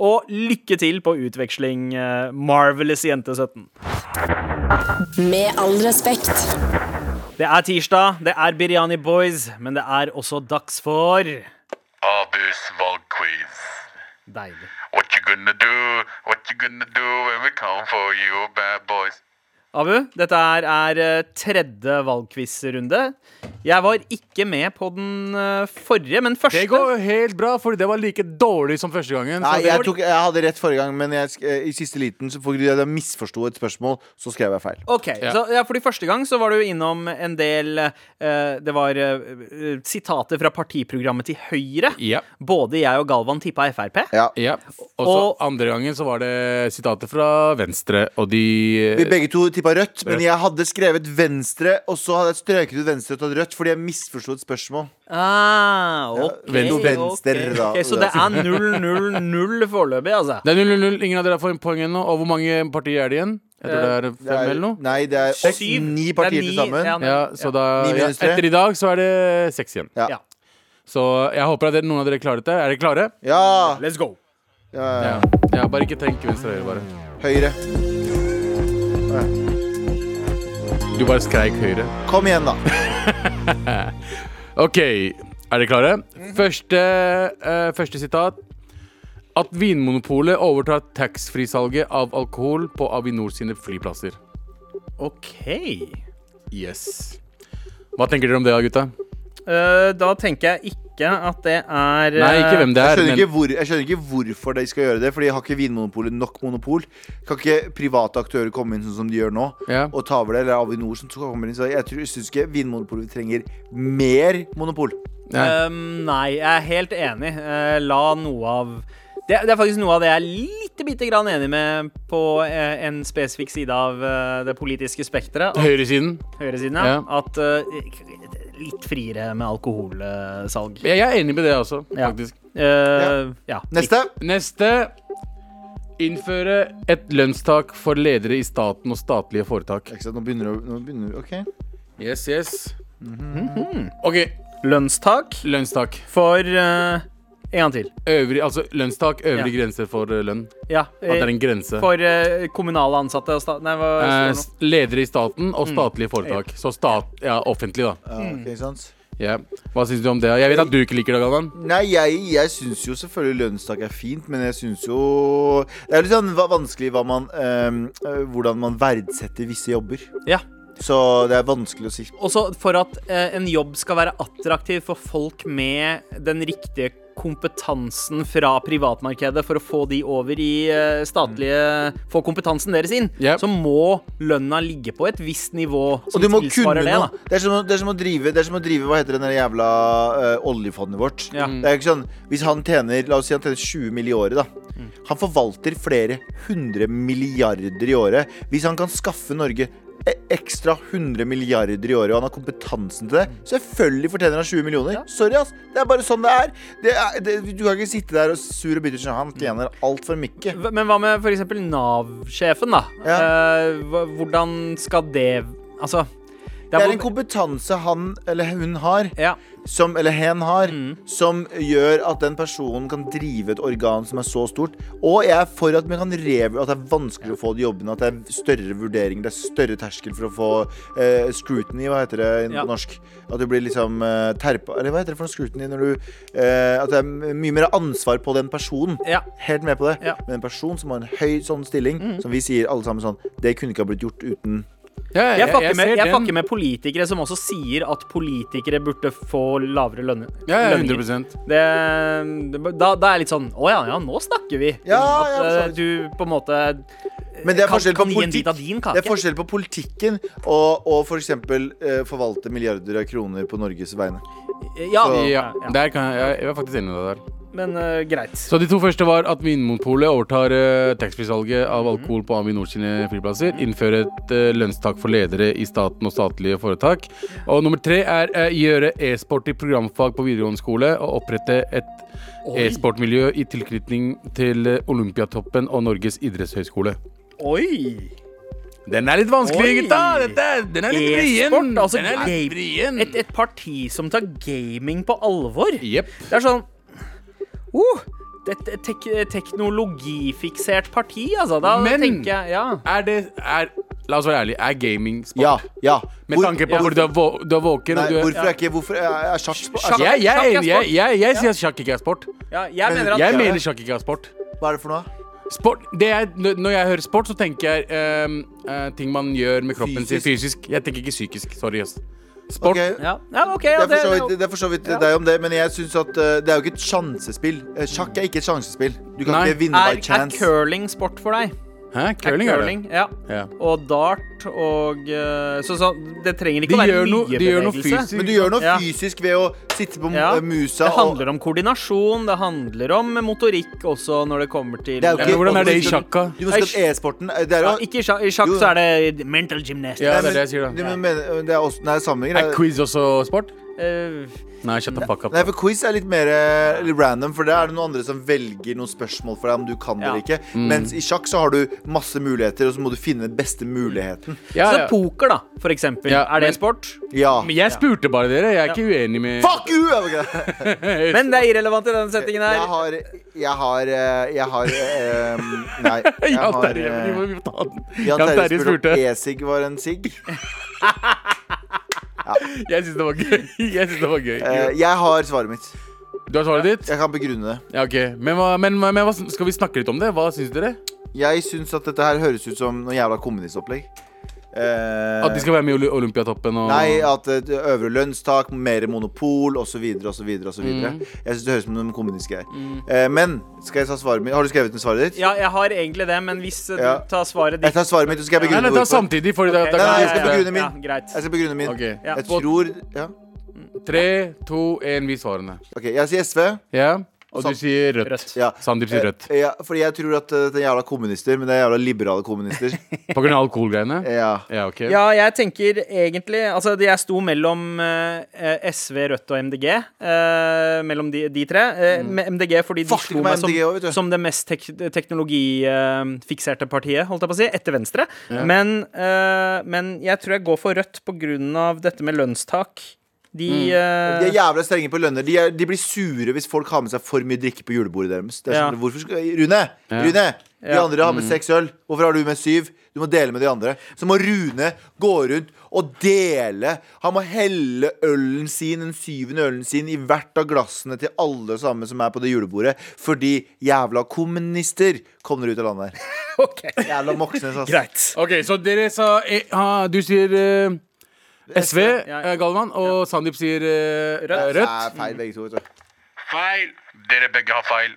Og lykke til på utveksling, eh, marvelous jente 17. Med all respekt. Det er tirsdag, det er Biryani Boys, men det er også dags for Abus valgquiz. Deilig. What you gonna do? What you gonna do when we come for you, bad boys? Abu, dette er, er eh, tredje valgquiz-runde. Jeg var ikke med på den eh, forrige, men første Det går helt bra, for det var like dårlig som første gangen. Nei, Så det jeg, var- tok, jeg hadde rett forrige gang, men jeg, sk- eh, i siste liten, så fordi jeg misforsto et spørsmål, så skrev jeg feil. Ok, Ja. så ja, fordi første gang så var du innom en del eh, Det var eh, sitater fra partiprogrammet til Høyre. Ja. Både jeg og Galvan tippa Frp. Ja. Ja. Og Og- så andre gangen så var det sitater fra Venstre, og de Vi begge to tippa rødt, men jeg hadde skrevet venstre, og så hadde jeg strøket ut venstre og tatt rødt fordi jeg misforsto et spørgsmål. Ah, ok, Venstre, ok. venstre, da. Ok, så det er 0-0-0 foreløpig, altså. Det er 0-0. Ingen av dere har fått poeng ennå. Og hvor mange partier er det igjen? Jeg tror det er Det fem er, eller noe. nei, det er åtte- Syv. ni Det er partier ni- til sammen. ja, Ja, nei, Ja, så da, Ni ja, minus tre. etter i dag så er det seks igjen. Ja. ja. Så jeg håper at dere, noen av dere klarer dette. Er dere klare? ja, Let's go. ja. Ja. ja bare ikke tenk venstre og høyre, bare. Høyre. Du bare skreik høyre. Kom igjen, da. OK, er dere klare? Første, eh, første sitat. At Vinmonopolet overtar taxfree-salget av alkohol på Avinor sine flyplasser. OK. Yes. Hva tenker dere om det, gutta? Eh, da tenker jeg ikke at det er eh, Nei, ikke hvem det Jeg er, skjønner, men ikke hvor, jeg skjønner ikke hvorfor de skal gjøre det, Fordi har ikke Vinmonopolet nok monopol? Kan ikke private aktører komme inn sånn som de gjør nå? Ja. Og ta over det, eller Avinor som kommer inn? Så jeg tror- syns ikke Vinmonopolet trenger mer monopol. Nei. Um, nei, jeg er helt enig. Eh, la noe av det, det er faktisk noe av det jeg er lite bitte grann enig med på eh, en spesifikk side av eh, det politiske spekteret. av Høyresiden. Høyresiden, ja. Ja. At eh, litt friere med alkoholsalg. Jeg er enig med det også, Ja. faktisk. Eh, ja. Neste. Neste. Innføre et lønnstak for ledere i staten og statlige foretak. Ikke sant, nå begynner du, nå begynner du OK. Yes, yes. Mhm. OK, Lønnstak lønnstak. for eh, En gang til. Øvrig, altså lønnstak, øvrig grense for eh, lønn. Ja. At det er eh, en grense. For eh, kommunale ansatte og stat... Nei, hva står Eh, det nå? Mm. s- ledere i staten og statlige foretak. Så stat, ja, offentlig, da. Ja, ok, ikke sant? Ja. Hva syns du om det? Jeg vet at du ikke liker det, Galvan. Nei, jeg, jeg syns jo selvfølgelig lønnstak er fint, men jeg syns jo Det er litt sånn va- vanskelig hva man, ehm, eh, hvordan man verdsetter visse jobber. Ja. Så det er vanskelig å si. Også for at eh, en jobb skal være attraktiv for folk med den riktige kompetansen fra privatmarkedet for å få de over i eh, statlige Få kompetansen deres inn, Yep. så må lønna ligge på et visst nivå Og som du må kunne tilsvarer det. noe. da Det er, som, å- det, er som å drive, det er som å drive Hva heter det der jævla eh, oljefondet vårt? Ja. Det er ikke sånn, Hvis han tjener La oss si han tjener 20 mill. i året, da. Han forvalter flere hundre milliarder i året. Hvis han kan skaffe Norge e- ekstra 100 milliarder i året, og han har kompetansen til det, selvfølgelig fortjener han 20 millioner. Sorry, ass. Det er bare sånn det er. Det er det, du kan ikke sitte der og sur og bitter sånn. Han tjener altfor mye. Hva- Men hva med f.eks. Nav-sjefen, da? Ja. Eh, hva- hvordan skal det Altså det Det er er en hvor- kompetanse han eller hun har. ja. som, eller hen har, Mm. som gjør at den personen kan drive et organ som er så stort. Og jeg er for at, man kan rev- at det er vanskelig å få de jobbene, at det er større vurderinger, det er større terskel for å få eh, scrutiny, hva heter det på Ja. norsk? At du blir liksom eh, terpa Eller hva heter det for noe scrutiny når du eh, At det er mye mer ansvar på den personen. Ja. Helt med på det. Ja. Mm. Men en person som har en høy sånn stilling, som vi sier alle sammen sånn Det kunne ikke ha blitt gjort uten Jeg fucker med, jeg fucker med politikere som også sier at politikere burde få lavere lønne, Ja, ja, lønninger. 100 Det, det- da, da er jeg litt sånn Å ja, ja, nå snakker vi. Ja, at ja, for så eh, vidt. du på en måte Men det er kan, forskjell på kan gi en bit politikk. av din kake. Det er forskjell på politikken og, og for eksempel eh, forvalte milliarder av kroner på Norges vegne. ja, Så- Ja, ja, ja. der kan jeg, jeg er faktisk enig med deg der. Men eh, greit. Så de to første var at Vinmonopolet overtar uh, taxfree-salget av alkohol på Avinor sine flyplasser, innføre et eh, lønnstak for ledere i staten og statlige foretak. Og nummer tre er eh, gjøre e-sport til programfag på videregående skole og opprette et e-sportmiljø i tilknytning til eh, Olympiatoppen og Norges idrettshøyskole. Oi! Den er litt vanskelig, Oi. gutta! Dette, er- den er litt vrien. E-sport, altså den er game- litt vrien. Et, et parti som tar gaming på alvor. Jepp. Det er sånn uh, det er et tek teknologifiksert parti, altså. Da Men- tenker jeg Ja. Er det er, La oss være ærlige. Er gaming sport? Ja, ja. Med tanke på hvor du er, vå- du er våken nei, og du er hvorfor er ikke Hvorfor er, er sjakk sp- altså, Sjakk Jeg, jeg, er jeg, sport. jeg, jeg, sier at sjakk ikke er sport. ja jeg mener at Jeg ja. mener sjakk ikke er sport. Hva er det for noe? sport det er, n- når jeg hører sport, så tenker jeg ehm, eh, ting man gjør med kroppen sin fysisk. Jeg tenker ikke psykisk. Sorry, ass. Sport. Ok, ja. ja, OK, Det ja, er for så det- vidt, det er for så vidt deg om det, men jeg syns at eh, det er jo ikke et sjansespill. Eh, Sjakk er ikke et sjansespill. Du kan Nei. ikke vinne Er, by er chance. curling sport for deg? Hæ? Curling er det. curling, Ja. Ja. Og dart og eh, så, så det trenger De ikke å være gjør noe- mye de gjør noe bevegelse. fysisk. Men du gjør noe Ja. fysisk ved å sitte på Ja. eh, musa Det og handler om koordinasjon, det handler om motorikk også når det kommer til Det er jo Ja, ikke- men hvordan er det i sjakka? Du må huske at e-sporten eh, Det er Ja, jo Ikke i sjakk, i sjakk Jo. så er det mental gymnastics. Ja, Nei, det men- er det jeg sier, da. du må mene- Det er også Nei, samme Er greie. quiz også sport? Eh, Nei, shut the fuck up. Nei, for quiz er litt mer eh, litt random, for det er det noen andre som velger noen spørsmål for deg om du kan det eller ikke. Mm. Mens i sjakk så har du masse muligheter, og så må du finne den beste muligheten. Ja, Så ja. poker, da, for eksempel. Ja, er det men- sport? Ja. Men jeg spurte bare dere. Jeg er ikke uenig med Fuck you! Jeg, jeg Men det er irrelevant i denne settingen her. har Jeg har eh, Jeg har eh, em, Nei. Jeg Jan har Terje, eh, vi må- vi må ta den. Jan Terje spurte spurte. om e-sig var en sigg. Jeg syns det var gøy. Jeg synes det var gøy. Eh, jeg har svaret mitt. Du har svaret ditt? Jeg kan begrunne det. Ja, ok. Men, hva, men, men hva, skal vi snakke litt om det? Hva syns dere? Jeg syns at dette her høres ut som noe jævla kommunistopplegg. Eh, At de skal være med i Oli- Olympiatoppen og Nei, at eh, øvre lønnstak, mer monopol osv. osv. osv. Mm. Jeg syns det høres ut som noe kommunistiske her. Eh, men skal jeg ta svaret mitt? Har du skrevet ned svaret ditt? Mm. Ja, jeg har egentlig det, men hvis eh, Ja. du tar svaret Jeg ditt tar svaret mitt, og så skal jeg Nei, begrunne nei, ta samtidig, for da, da Nei, nei, jeg kan skal vi begrunne Ja, min. greit. Jeg skal begrunne min. Ok. Ja. Jeg tror ja. Tre, to, én, vis svarene. Ok, jeg sier SV. Ja? Og Sant. du sier rødt. Rødt. Ja. Sandeep sier rødt. Eh, Ja, fordi jeg tror at eh, det er jævla kommunister, men det er jævla liberale kommunister. På grunn av alkoholgreiene? Eh, ja. Ja, ok. Ja, jeg tenker egentlig Altså, jeg sto mellom eh, SV, Rødt og MDG. eh, mellom de, de tre. Eh, Mm. med MDG fordi de Fuck, slo det meg var som, MDG også, vet du. som det mest tek teknologifikserte partiet, holdt jeg på å si, etter Venstre. Men, eh, men jeg tror jeg går for Rødt på grunn av dette med lønnstak. De, Mm. eh, De er jævla strenge på lønner. De, er, de blir sure hvis folk har med seg for mye drikke på julebordet deres. Det er Ja. sånn, hvorfor skal, Rune! Rune! De Ja. Mm. andre har med seks øl. Hvorfor har du med syv? Du må dele med de andre. Så må Rune gå rundt og dele. Han må helle ølen sin, den syvende ølen sin, i hvert av glassene til alle sammen som er på det julebordet. Fordi jævla kommunister kommer ut av landet her. ok, Jævla Moxnes, ass. greit. OK, så dere sa eh, ah, Du sier eh, SV, ja. eh, Galvan, og Sandeep sier eh, Rødt. Det Rødt. er feil, begge to. vet du. Feil! Dere begge har feil.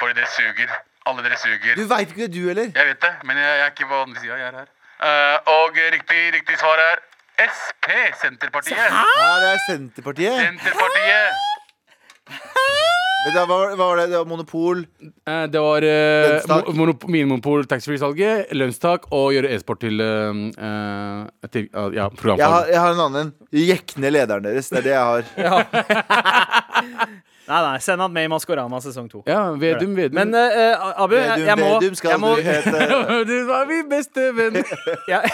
Fordi dere suger. Alle dere suger. Du veit ikke det, du heller. Jeg vet det, men jeg, jeg er ikke på andre sida. Jeg er her. Eh, og riktig, riktig svar er SP, Senterpartiet. Ja, det er Senterpartiet. Senterpartiet. Men det var, hva var det? det var Monopol. Eh, Det var eh, Lønnstak. mo- monop- minimumspol, taxfree-salget, lønnstak og gjøre e-sport til, eh, eh, til ah, ja, Jeg har, programfag. jeg har en annen. Jekk ned lederen deres. Det er det jeg har. Nei, nei, send han med i Maskorama sesong to. Ja, Vedum, Vedum. Men eh, eh, Abu, jeg, Vedum, jeg må, Vedum skal jeg må du hete. du var min beste venn. jeg,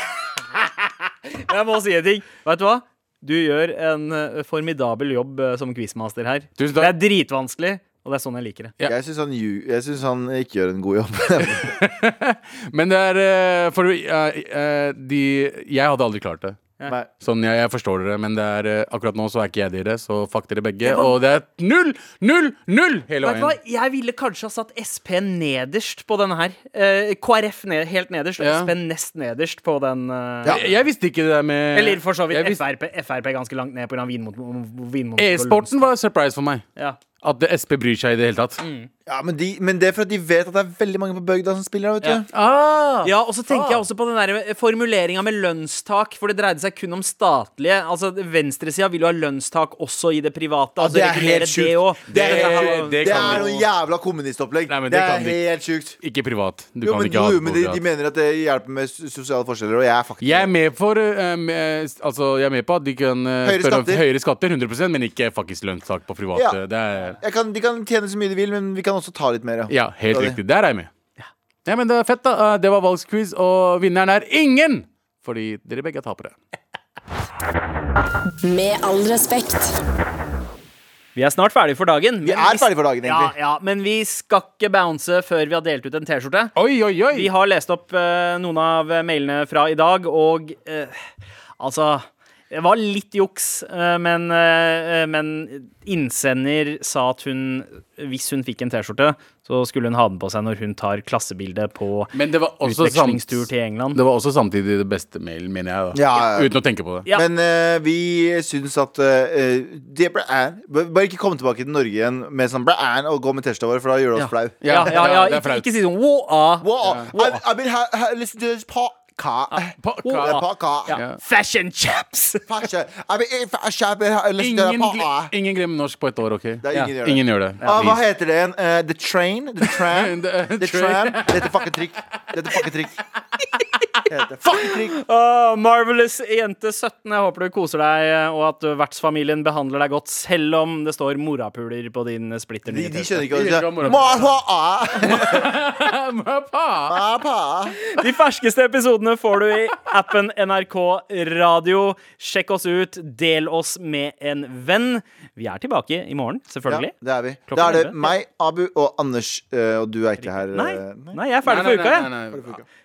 jeg må si en ting. Vet du hva? Du gjør en eh, formidabel jobb eh, som quizmaster her. Det Tusen takk. er dritvanskelig, og det er sånn jeg liker det. Ja. Jeg syns han, lju- jeg synes han ikke gjør en god jobb. Men det er eh, for eh, eh, de Jeg hadde aldri klart det. Nei. Sånn, jeg, jeg forstår dere, men det er, eh, akkurat nå så er ikke jeg dere, så fuck dere begge. Og det er null, null, null hele Vet du hva? veien. Jeg ville kanskje ha satt SP nederst på denne her. Eh, KrF ned, helt nederst, og Ja. SP nest nederst på den. eh, Ja. Jeg, jeg visste ikke det der med Eller for så vidt jeg visste- Frp. Frp ganske langt ned pga. vinmonopol. E-sporten var en surprise for meg. ja. At det- SP bryr seg i det hele tatt. Mm. Ja, men, de, men det er for at de vet at det er veldig mange på bygda som spiller. Vet du. Altså, Ah, ja, og så tenker jeg også på den der formuleringa med lønnstak, for det dreide seg kun om statlige. Altså, Venstresida vil jo ha lønnstak også i det private. Altså, det er regulere helt sjukt. Det òg. Det er- Det det- det kan er de noe jo. jævla kommunistopplegg. Nei, men Det det er kan de- helt sjukt. Ikke privat. Du Jo, kan men, ikke ha jo, det på men de, privat. de mener at det hjelper med s- sosiale forskjeller, og jeg er faktisk Jeg er med for eh, med, Altså, jeg er med på at de kan eh, Høyere spørre om skatter. høyere skatter, 100 men ikke fuckings lønnstak på private. Ja. Det er jeg kan, De kan tjene så mye de vil, men vi kan også ta litt mer. Ja, helt Ja, det- riktig. Der er jeg med. Ja, men det er fett, da. Eh, Det var valgsquiz, og vinneren er ingen! Fordi dere begge er tapere. Med all respekt. Vi er snart ferdige for dagen. Vi men er ferdige for dagen, ja, egentlig. ja, men vi skal ikke bounce før vi har delt ut en T-skjorte. Oi, oi, oi! Vi har lest opp eh, noen av mailene fra i dag, og eh, altså Det var litt juks, eh, men, eh, men innsender sa at hun, hvis hun fikk en T-skjorte, så skulle hun ha den på seg når hun tar klassebilde på Men det var også samt, utvekslingstur til England. Det var også samtidig det beste mailen, mener jeg. da Ja, ja, ja. Uten å tenke på det. Ja. Men eh, vi syns at eh, det ble æren. Bare ikke komme tilbake til Norge igjen med sånn ble æren og gå med T-skjorta vår, for da gjør det oss flau. Ja, ja, ja, det er ikke, flaut. ikke si sånn wow, ah, Wow, I've, I've been ha- ha- listening to this podcast. eh, Podcast. Podcast. ja. ah, Fashion chaps! Podcast. I've been eating fish, I've been eh, ha- listening to Ingen, the gle- podcast. ingen glem norsk på et år, OK? er ingen ja. gjør det. ingen gjør det. Ah, hva Please. heter det igjen? Eh, the Train? The Tram? The- the tram. Train. Dette fucketrykk. Dette fucketrykk. Dette fucketrykk. Åh, Marvelous jente 17. Jeg håper du koser deg, eh, og at vertsfamilien behandler deg godt, selv om det står morapuler på din splitter De, nye de skjønner T-skjorte. ikke Vi hva liker å de ha sier. moro. Ma-pa-a. Pa. Ma-pa. De ferskeste episodene får du i appen NRK Radio. Sjekk oss ut, del oss med en venn. Vi er tilbake i morgen, Ja, selvfølgelig. det er vi. Klokken Da er det elleve. meg, Abu og Anders, eh, og du er ikke her. Nei, eh, nei, jeg er ferdig for uka, jeg. nei, nei.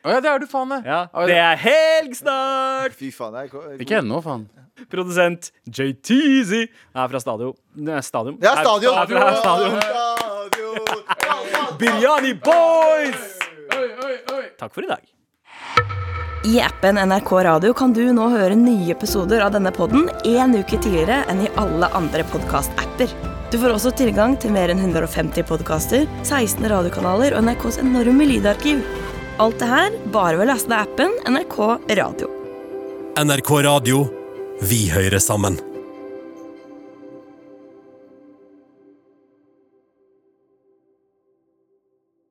Å ja, det er du, faen. det. Ja, Å, det er helg snart! Fy faen, jeg er Ikke ennå, faen. Produsent JTZ er fra Stadio. Nei, Stadium. Ja, Er- stadion. Er fra stadion. Stadion. Biryani Boys! Takk for i dag. I appen NRK Radio kan du nå høre nye episoder av denne podden en uke tidligere enn i alle andre podcast-apper. Du får også tilgang til mer enn 150 podcaster, 16 radiokanaler og NRKs enorme lydarkiv. Alt det her bare ved å laste ned appen NRK Radio. NRK Radio. Vi hører sammen.